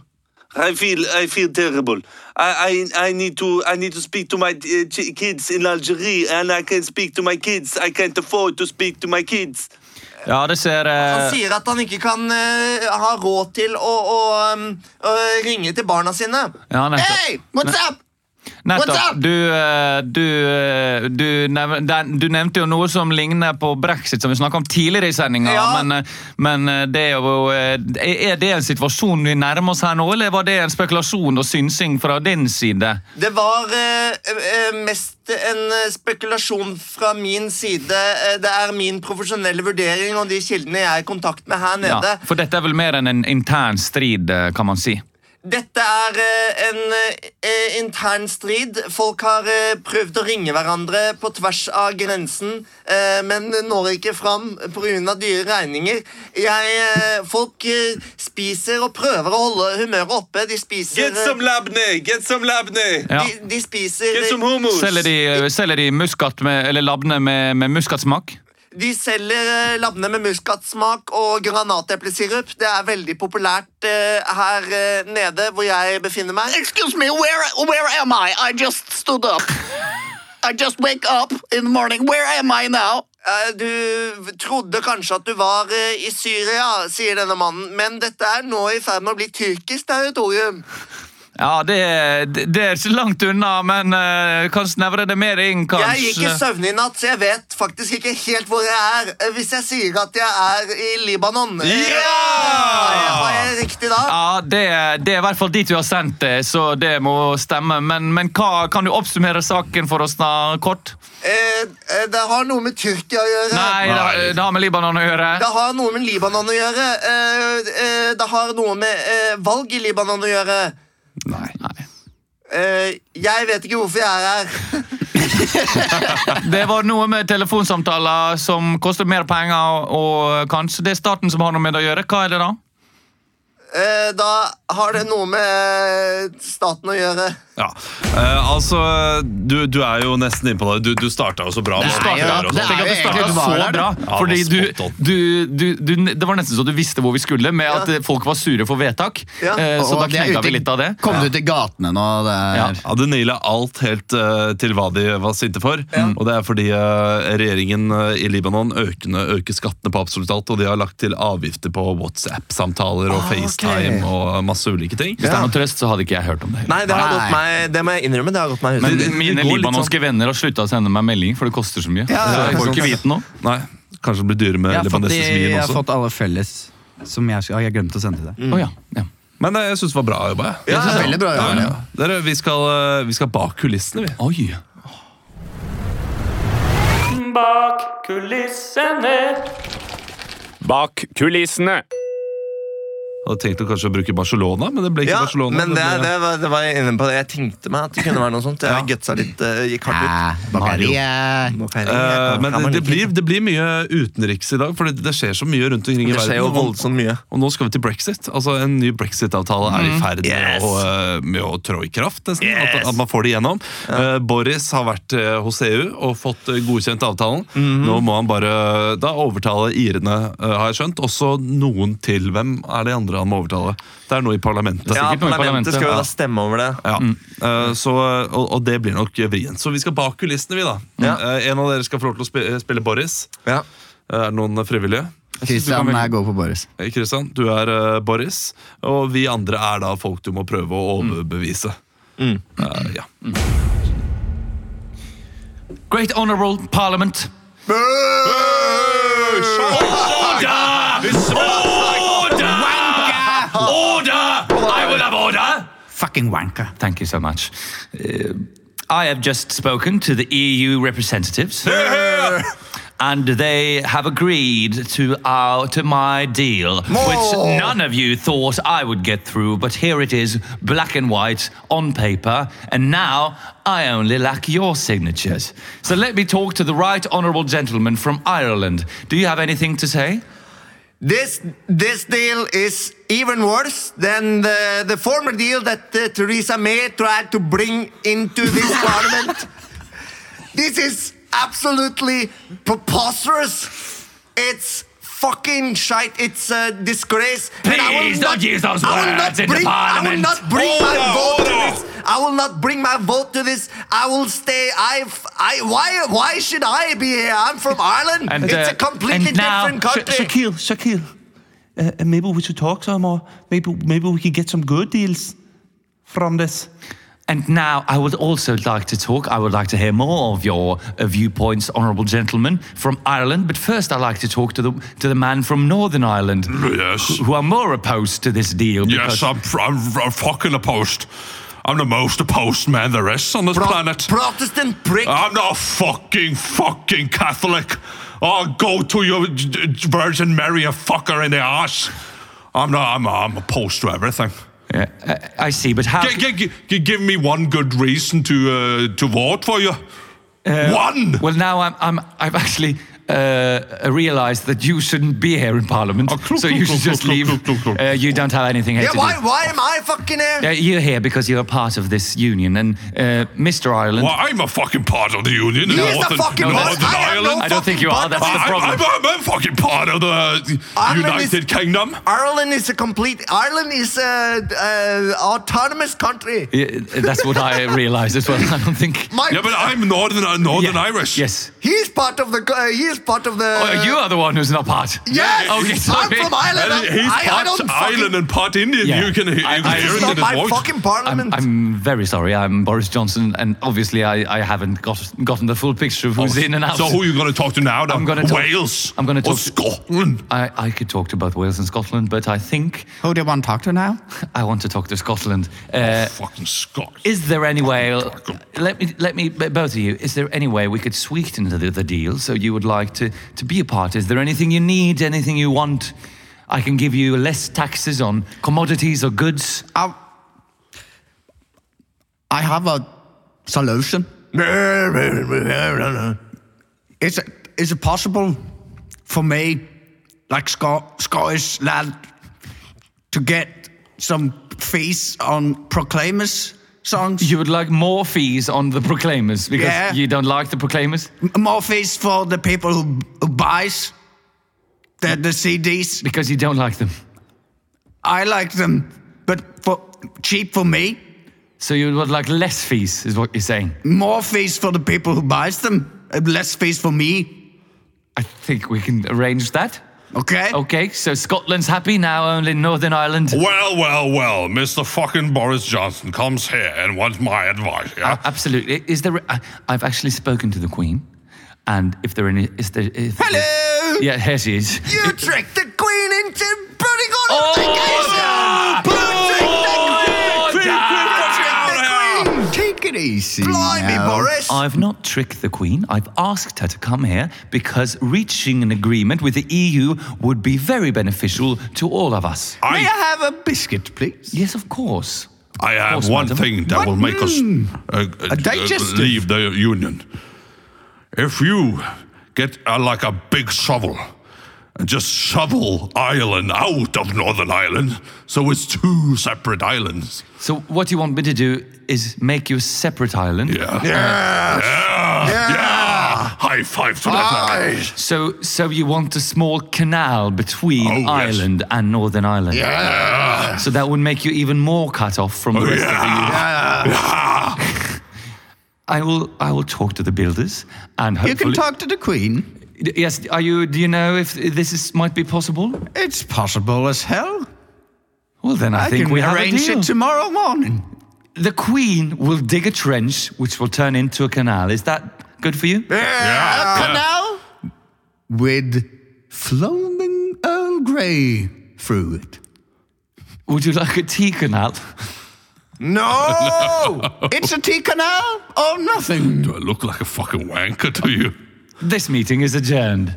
S14: I feel I feel terrible. I I, I need to I need to speak to my uh, ch- kids in Algeria, and I can't speak to my kids. I can't afford to speak to my kids.
S2: Ja, det ser
S3: Han
S2: eh,
S3: sier at han ikke kan eh, ha råd til å, å, um, å ringe til barna sine.
S2: ja, nettopp.
S3: Hey, what's up?
S15: What's
S2: Nettopp.
S15: up?
S2: Du, eh, du, eh, du, nev den- du nevnte jo noe som ligner på brexit, som vi snakka om tidligere i sendinga.
S3: Ja.
S2: Men, eh, men eh, det er jo eh, Er det en situasjon vi nærmer oss her nå, eller var det en spekulasjon og synsing fra din side?
S3: Det var eh, eh, mest en eh, spekulasjon fra min side. Eh, Det er min profesjonelle vurdering og de kildene jeg er i kontakt med her
S2: Ja,
S3: nede.
S2: for dette er vel mer enn en intern strid, eh, kan man si.
S3: Dette er eh, en eh, intern strid. Folk har eh, prøvd å ringe hverandre på tvers av grensen, eh, men når ikke fram pga. dyre regninger. Jeg, eh, folk eh, spiser og prøver å holde humøret oppe. De spiser
S14: Get some
S3: eh,
S14: labney! Get some labney!
S2: Ja.
S3: de, de spiser eh,
S14: Get some hummus!
S2: Selger de, selger de muskat med, eller labne med, med muskatsmak?
S3: De selger eh, labne med muskatsmak og granateplesirup. Det er veldig populært eh, her eh, nede hvor jeg befinner meg.
S15: Excuse me, where where am I? I just stood up. I just wake up in the morning. Where am I now?
S3: Eh, Du trodde kanskje at du var eh, i Syria, sier denne mannen, men dette er nå i ferd med å bli tyrkisk territorium.
S2: Ja, det, det det er ikke langt unna, men eh, kan snevre det mer inn,
S3: Jeg gikk i
S2: kanskje.
S3: søvne i natt, så jeg vet faktisk ikke helt hvor jeg er. Eh, Hvis jeg sier at jeg er i Libanon eh, Har jeg, har jeg riktig da?
S2: Ja, det, det er i hvert fall dit vi har sendt det, så det må stemme. Men, men hva, kan du oppsummere saken for oss da, kort?
S3: Eh, eh, Det har noe med Tyrkia å gjøre.
S2: Nei, det, det har med Libanon å gjøre.
S3: Det har noe med Libanon å gjøre. Eh, eh, det har noe med eh, valg i Libanon å gjøre.
S2: Nei.
S3: Eh, jeg vet ikke hvorfor jeg er her.
S2: Det var noe med telefonsamtaler som koster mer penger, og kanskje det er staten som har noe med det å gjøre. Hva er det da?
S3: Eh, da har det noe med eh, staten å gjøre.
S1: Ja. Eh, altså, du, du er jo nesten inne på det. Du, du starta jo så bra. Du startet
S4: ja,
S1: der også.
S4: det er
S2: Tenk at
S4: jo
S2: det startet
S4: egentlig bare
S2: så
S4: der,
S2: bra,
S1: Ja,
S2: fordi
S1: det
S2: du,
S1: var spot on.
S2: du, du, du, det var nesten så du visste hvor vi skulle, med at eh, folk var sure for vedtak.
S3: Ja.
S2: Eh, Så
S4: Og
S2: da
S4: det er
S2: knekka
S4: ute-
S2: vi litt av det.
S4: Kom du til gatene nå? Det er,
S2: Ja.
S1: Ja, Det naila alt helt eh, til hva de var sinte for. Og det er fordi eh, regjeringen eh, i Libanon økende, øker skattene på absolutt alt, og de har lagt til avgifter på WhatsApp-samtaler og FaceTime og masse ulike ting.
S2: Hvis det er noe trøst, så hadde ikke jeg hørt om det.
S16: Nei, det, har
S4: Nei.
S16: gått meg, det må jeg innrømme. Det har gått meg hus.
S2: Men
S1: det- det
S2: mine
S1: går litt
S2: libanonske venner har slutta å sende meg melding, for det koster så mye.
S16: ja,
S2: så jeg
S16: ikke
S2: får ikke
S16: sant.
S2: vite noe.
S1: Nei, Kanskje det blir dyrere med
S4: Jeg har, fått, de,
S1: libanesisk vin
S4: jeg har
S1: også.
S4: fått alle felles som jeg, skal- jeg glemte å sende til deg.
S2: Å ja. ja.
S1: Men eh, jeg syns det var bra jobba. jeg.
S4: Det er veldig bra å gjøre det.
S1: Dere, vi skal, eh, vi skal bak kulissene, vi.
S2: Oi.
S17: Bak kulissene.
S1: Hadde tenkt å kanskje bruke Barcelona, men det ble ikke
S16: Ja,
S1: Barcelona.
S16: men det,
S1: ble-
S16: det, var, det var jeg inne på. Jeg tenkte meg at det kunne være noe sånt. Jeg gutsa litt, eh, gikk hardt ut. Nå kan jeg ringe.
S1: Eh,
S16: Nå
S1: men
S16: kan
S1: det,
S16: man
S1: det,
S16: like.
S1: blir, det blir mye utenriks i dag, for det, det skjer så mye rundt omkring i
S16: Det
S1: verden.
S16: skjer jo
S1: og-
S16: voldsomt mye.
S1: Og nå skal vi til brexit. Altså En ny brexit-avtale er i ferd med,
S16: Mm. Yes.
S1: å, eh, med å trå i kraft, nesten. At, at man får det igjennom. Eh, Boris har vært eh, hos EU og fått eh, godkjent avtalen.
S16: Mhm.
S1: Nå må han bare eh, da overtale irene, eh, har jeg skjønt. Også noen til. Hvem er de andre han må overtale? Det er noe i parlamentet.
S16: Ja, Mm.
S2: sikkert noe i
S16: parlamentet
S2: parlamentet.
S16: skal jo
S2: Ja.
S16: da stemme over det.
S1: Ja. Eh, så, og, og det blir nok vrient. Så vi skal bak kulissene, vi, da.
S16: Ja.
S1: Eh, en av dere skal få lov til å spille, spille Boris.
S16: Ja.
S1: Eh, Er det noen frivillige?
S4: Christian, jeg går på Boris.
S1: Eh, Kristian, du er eh, Boris, og vi andre er da folk du må prøve å overbevise. Eh, ja.
S2: Great honorable parliament.
S4: Fucking wanker.
S2: Thank you so much. Uh, I have just spoken to the EU representatives. And they have agreed to our to my deal, which none of you thought I would get through. But here it is, black and white on paper, and now I only lack your signatures. So let me talk to the right honourable gentleman from Ireland. Do you have anything to say?
S3: This, this deal is even worse than the, the former deal that uh, Theresa May tried to bring into this parliament. This is absolutely preposterous. It's fucking shite. It's a disgrace. And I will
S2: Please don't use those
S3: I will not
S2: words in the
S3: bring, I will
S2: parliament.
S3: not bring my vote to this. I will not bring my vote to this. I will stay. I, I, why, why should I be here? I'm from Ireland. it's
S2: uh,
S3: a completely
S2: and now-
S3: different country.
S8: Shaquille, Shaquille, uh, uh, maybe we should talk some more. Maybe maybe we could get some good deals from this.
S2: And now I would also like to talk. I would like to hear more of your uh, viewpoints, honourable gentlemen from Ireland. But first, I'd like to talk to the to the man from Northern Ireland,
S1: Yes.
S2: who, who are more opposed to this deal.
S1: Yes, I'm, I'm, I'm fucking opposed. I'm the most opposed man there is on this planet. Ah,
S18: Protestant prick!
S1: I'm not fucking fucking Catholic. I'll go to your d- d- Virgin Mary a fucker in the ass. I'm not. I'm, I'm opposed to everything.
S2: Yeah, uh, I, I see, but how?
S1: G- g- g- give me one good reason to uh, to vote for you. one.
S2: Well, now I'm, I'm I've actually uh, realised that you shouldn't be here in Parliament,
S3: Oh,
S2: so you should just leave. Uh, you don't have anything here
S3: Yeah,
S2: to
S3: why,
S2: do.
S3: why am I fucking here?
S2: Uh, you're here because you're a part of this union, and uh, Mr. Ireland.
S1: Well, I'm a fucking part of the union. in
S3: He is the
S1: Northern,
S3: fucking
S1: Northern
S3: boss. I am no
S1: Ireland.
S2: I don't think you are. That's the
S1: I-
S2: problem.
S1: I'm, I'm, a fucking part of the
S3: Ireland is-
S1: United Kingdom.
S3: Ireland is a complete. Ireland is a, a autonomous country.
S2: Yeah, uh, that's what I realised as well. I don't think.
S3: My-
S1: Yeah, but I'm Northern uh, Northern Irish.
S2: Yes.
S3: He's part of the. co- Uh, he's part of the.
S2: Oh, you are the one who's not part.
S3: Yes!
S2: Okay,
S3: I'm
S2: sorry.
S3: from Ireland.
S1: And he's
S3: I, I
S1: part
S3: don't fucking.
S1: Ireland and part Indian.
S2: Yeah.
S1: You can hear, you
S2: I-
S1: can
S2: I-
S1: hear
S3: It's
S1: it in
S3: not
S1: his
S3: my
S1: voice.
S3: fucking
S2: I'm,
S3: parliament.
S2: I'm very sorry. I'm Boris Johnson, and obviously I, I haven't got, gotten the full picture of
S3: Oh,
S2: who's in and out.
S1: So who are you going to talk to now? Then?
S2: I'm gonna talk-
S1: Wales.
S2: I'm gonna
S1: or
S2: talk to-
S1: Scotland.
S2: I, I could talk to both Wales and Scotland, but I think
S4: Who do you want to talk to now?
S2: I want to talk to Scotland. Uh,
S1: fucking Scotland.
S2: is there any way? Let me, let me, b- both of you. Is there any way we could sweeten the, the deal so you would like to to be a part? Is there anything you need? Anything you want? I can give you less taxes on commodities or goods.
S4: I, I have a solution. Is it is it possible for me, like Sco- Scottish lad, to get some fees on Proclaimers songs?
S2: You would like more fees on the Proclaimers because
S4: Yeah.
S2: you don't like the Proclaimers
S4: M- More fees for the people who, who buys the, the CDs.
S2: because you don't like them.
S4: I like them, but for cheap for me.
S2: So you would like less fees, is what you're saying.
S4: More fees for the people who buys them, and less fees for me.
S2: I think we can arrange that.
S4: Okay.
S2: Okay, so Scotland's happy now. Only Northern Ireland.
S1: Well, well, well, Mr. fucking Boris Johnson comes here and wants my advice. Yeah?
S2: Absolutely. Is there? I, I've actually spoken to the Queen, and if there any, is there? If,
S3: Hello!
S2: Yeah, here she is.
S3: Oh, You tricked the queen into putting on
S2: Oh,
S3: a vacation!
S1: Oh,
S4: Take it easy.
S3: Blimey,
S4: now.
S3: Boris!
S2: I've not tricked the Queen. I've asked her to come here because reaching an agreement with the EU would be very beneficial to all of us.
S4: May I
S1: I,
S4: have a biscuit, please?
S2: Yes, of course.
S1: I have
S2: course,
S1: one
S2: madam.
S1: thing that will make us uh, uh, uh,
S4: digestive.
S1: leave the union. If you get uh, like a big shovel and just shovel Ireland out of Northern Ireland, so it's two separate islands.
S2: So what you want me to do is make you a separate island.
S1: Yeah. Yeah. Yeah. High five to
S3: Ah.
S1: that. man.
S2: So so you want a small canal between
S1: Oh, yes.
S2: Ireland and Northern Ireland.
S1: Yeah. Oh,
S2: So that would make you even more cut off from the rest of the EU.
S1: Yeah.
S2: I will I will talk to the builders and
S4: You
S2: hopefully
S4: can talk to the Queen.
S2: Yes, are you do you know if this is might be possible?
S4: It's possible as hell.
S2: Well then I,
S4: I,
S2: think
S4: can
S2: we have a
S4: arrange
S2: deal.
S4: it tomorrow morning.
S2: the Queen will dig a trench which will turn into a canal. Is that good for you?
S1: Eh. Yeah.
S4: Canal with foaming Earl Grey through it.
S2: Would you like a tea canal?
S4: No, it's a tea canal or nothing.
S1: Do I look like a fucking wanker to you?
S2: This meeting is adjourned.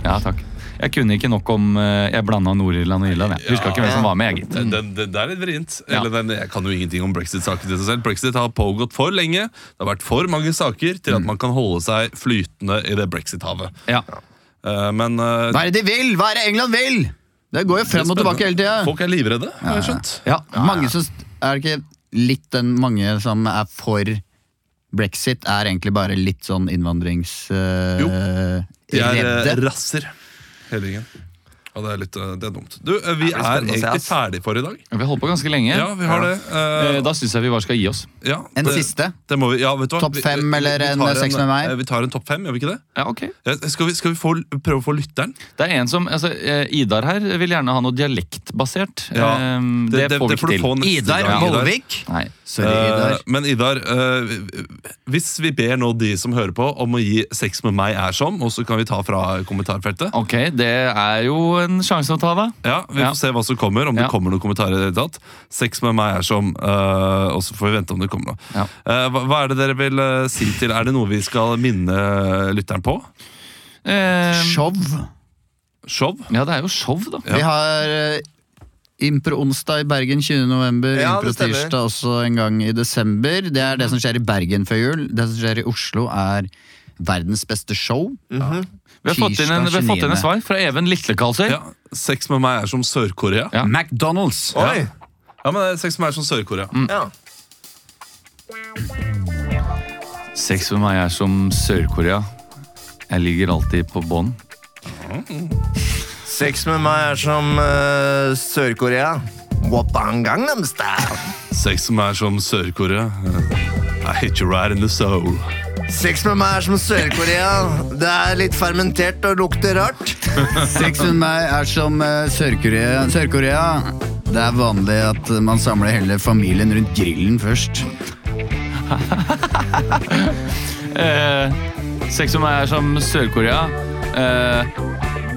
S2: Ja, takk. Jeg kunne ikke nok om eh, Jeg blanda Nord-Irland og Irland. Jeg huska ikke hvem som var med. jeg, gitt.
S1: Den, den, den der er vrient.
S2: Ja.
S1: Eller den, jeg kan jo ingenting om brexit-saken i seg selv. Brexit har pågått for lenge. Det har vært for mange saker til at man kan holde seg flytende i det brexit-havet.
S2: Ja.
S1: Eh, men eh,
S4: Hva er det de vil? Hva er det England vil? Det går jo
S1: det er
S4: frem og tilbake hele
S1: spennende.
S4: tida.
S1: Folk er livredde, har jeg skjønt.
S2: Ja.
S4: Mange som Er det ikke litt den mange som er for brexit, er egentlig bare litt sånn innvandrings... øh,
S1: De er eh,
S4: redde?
S1: rasser, hele gjengen. Ja, det er litt eh, det er dumt. Du, eh, vi
S2: Det blir
S1: er
S2: spennende å se,
S1: egentlig
S2: ass.
S1: ferdig for i dag.
S2: Vi har holdt på ganske lenge.
S1: Ja, vi har det. Eh,
S2: Eh, Da syns jeg vi bare skal gi oss.
S1: Ja,
S4: En
S1: det-
S4: siste?
S1: Det må vi, ja, vet du hva?
S4: Topp
S1: Vi-
S4: fem
S1: vi- vi
S4: eller
S1: tar
S4: en seks med meg?
S1: eh, Vi tar en topp fem, gjør vi ikke det? Eh,
S2: Ja, ok.
S1: Skal vi, skal vi få, prøve å få lytteren?
S2: Det er en som, altså, eh, Idar her vil gjerne ha noe dialektbasert.
S1: Ja,
S2: Eh,
S1: det- det- det får du få neste Idar gang, Idar. Vollvik?
S2: Nei.
S1: Eh, men Idar, eh, hvis vi ber nå de som hører på om å gi 'Sex med meg er som', og så kan vi ta fra kommentarfeltet
S2: Ok, det er jo en sjanse å ta, da.
S1: Ja, Vi får
S2: Ja.
S1: se hva som kommer, om det kommer noen kommentarer. i det hele tatt 'Sex med meg er som', eh, og så får vi vente om det kommer noe. Eh, hva, hva er det dere vil eh, si til? Er det noe vi skal minne eh, lytteren på?
S4: Show.
S1: Show?
S2: Ehm, Ja, det er jo show, da.
S4: Vi har eh, Impro-onsdag i Bergen 20. november.
S3: Ja, det stemmer. Mm.
S4: Impro-tirsdag også en gang i desember. Det er det som skjer i Bergen før jul. Det som skjer i Oslo, er verdens beste show.
S2: Vi har fått inn en, vi har fått inn en svar fra Even Litlekalser.
S1: Ja, Sex med meg er som Sør-Korea.
S4: McDonald's.
S1: Ja. ja, men det er Sex med meg er som Sør-Korea.
S2: Mm. Sex med meg er som Sør-Korea. Jeg ligger alltid på bånn.
S3: Sex med meg er som eh, Sør-Korea. Wapang Gangnam Style.
S1: Sex med meg er som Sør-Korea. Eh, I hit you right in the soul.
S3: Sex med meg er som Sør-Korea. Det er litt fermentert og lukter rart.
S4: Sex med meg er som eh, Sør-Korea. Sør-Korea. Det er vanlig at man samler hele familien rundt grillen først.
S2: Eh, sex med meg er som Sør-Korea. Eh,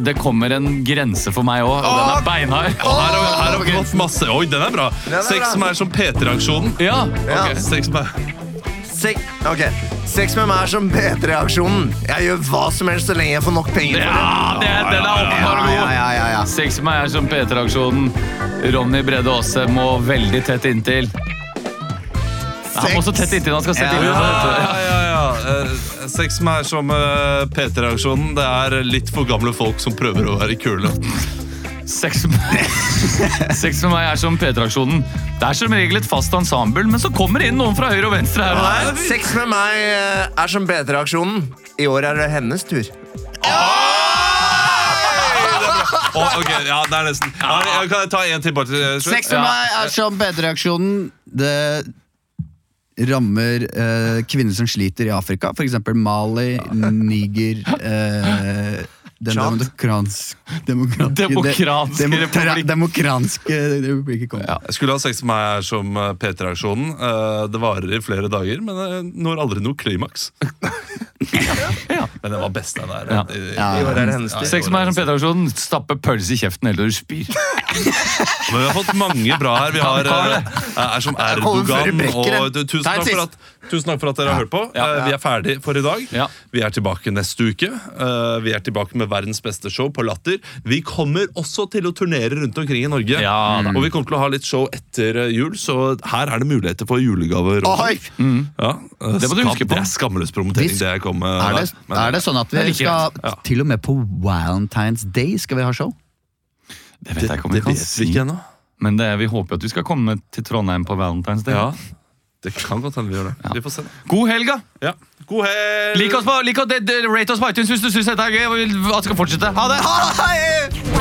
S2: det kommer en grense for meg òg, og den er beinhard.
S1: Og her har, her har vi fått masse Oi, den er bra!
S3: Den er
S1: Sex
S3: bra.
S1: som er som P3-aksjonen.
S2: Ja,
S3: Ja.
S1: Sex med
S3: Sex, ok. Sex med meg er som B3-aksjonen. Jeg gjør hva som helst så lenge jeg får nok penger for
S2: Ja, det, den er åpenbar og god. Sex med meg er som P3-aksjonen. Ronny Brede Aase må veldig tett inntil. Nei, Han må så tett inntil han skal sette inn.
S1: Ja, ja, ja. Eh, Sex med meg er som eh, P3-aksjonen. Det er litt for gamle folk som prøver å være kule.
S2: Sex med, sex med meg er som P3-aksjonen. Det er som regel et fast ensemble, men så kommer det inn noen fra høyre og venstre her og
S3: Nei,
S2: der.
S3: Sex med meg eh, er som B3-aksjonen. I år er det hennes tur.
S1: Å, ok, ja, det er nesten ja, jeg Kan jeg ta en til? bare til eh, slutt?
S4: Sex med meg er som bedreaksjonen. Det rammer eh, kvinner som sliter i Afrika. For eksempel Mali, Niger eh, Den
S2: Tjad.
S4: demokrans, demokratiske
S2: Demokratiske
S4: de- demokra-
S2: republikk.
S4: Demokratiske republikken kom.
S1: Jeg skulle ha sex med meg er som eh, P3-aksjonen. Eh, Det varer i flere dager, men det når aldri noe klimaks. Men det var best, den der.
S2: Ja.
S1: I- i-
S2: Ja.
S1: i år er det hennes tur.
S2: Sex med meg er som P3-aksjonen. Stappe pølse i kjeften helt til du spyr.
S1: Men vi har fått mange bra her. Vi har, eh, er som
S2: kommer før du
S1: Erdogan.
S2: brekker den.
S1: Og, du, tusen,
S2: Der
S1: takk for
S2: sist.
S1: at, tusen takk for at dere har hørt på.
S2: Ja.
S1: Eh, Vi er ferdig for i dag. Vi er tilbake neste uke. Eh, Vi er tilbake med verdens beste show på Latter. Vi kommer også til å turnere rundt omkring i Norge.
S2: da.
S1: og vi kommer til å ha litt show etter eh, jul, så her er det muligheter for julegaver. også. Ja, eh,
S2: Det må du
S1: skam-
S2: huske på.
S1: Det er skamløs promotering.
S4: Hvis-
S1: Det jeg kom med
S4: Er det,
S1: der. Men-
S4: er det sånn at vi
S1: Jeg liker
S4: skal
S1: det. Ja.
S4: Til og med på Valentine's Day skal vi ha show.
S2: Det vet jeg ikke om vi
S1: det
S2: kan
S1: vet
S2: si.
S1: vi ikke ennå.
S2: Men det, vi håper at vi skal komme til Trondheim på Valentine's Day.
S1: Ja, det kan godt hende vi gjør det. Vi får se. da.
S2: God helg, da!
S1: Ja. God helg!
S2: Lik oss på, lik oss, det- det- rate oss på iTunes hvis du syns dette er gøy. og vil At vi skal fortsette. Ha det!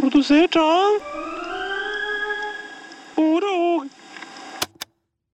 S19: Produsert av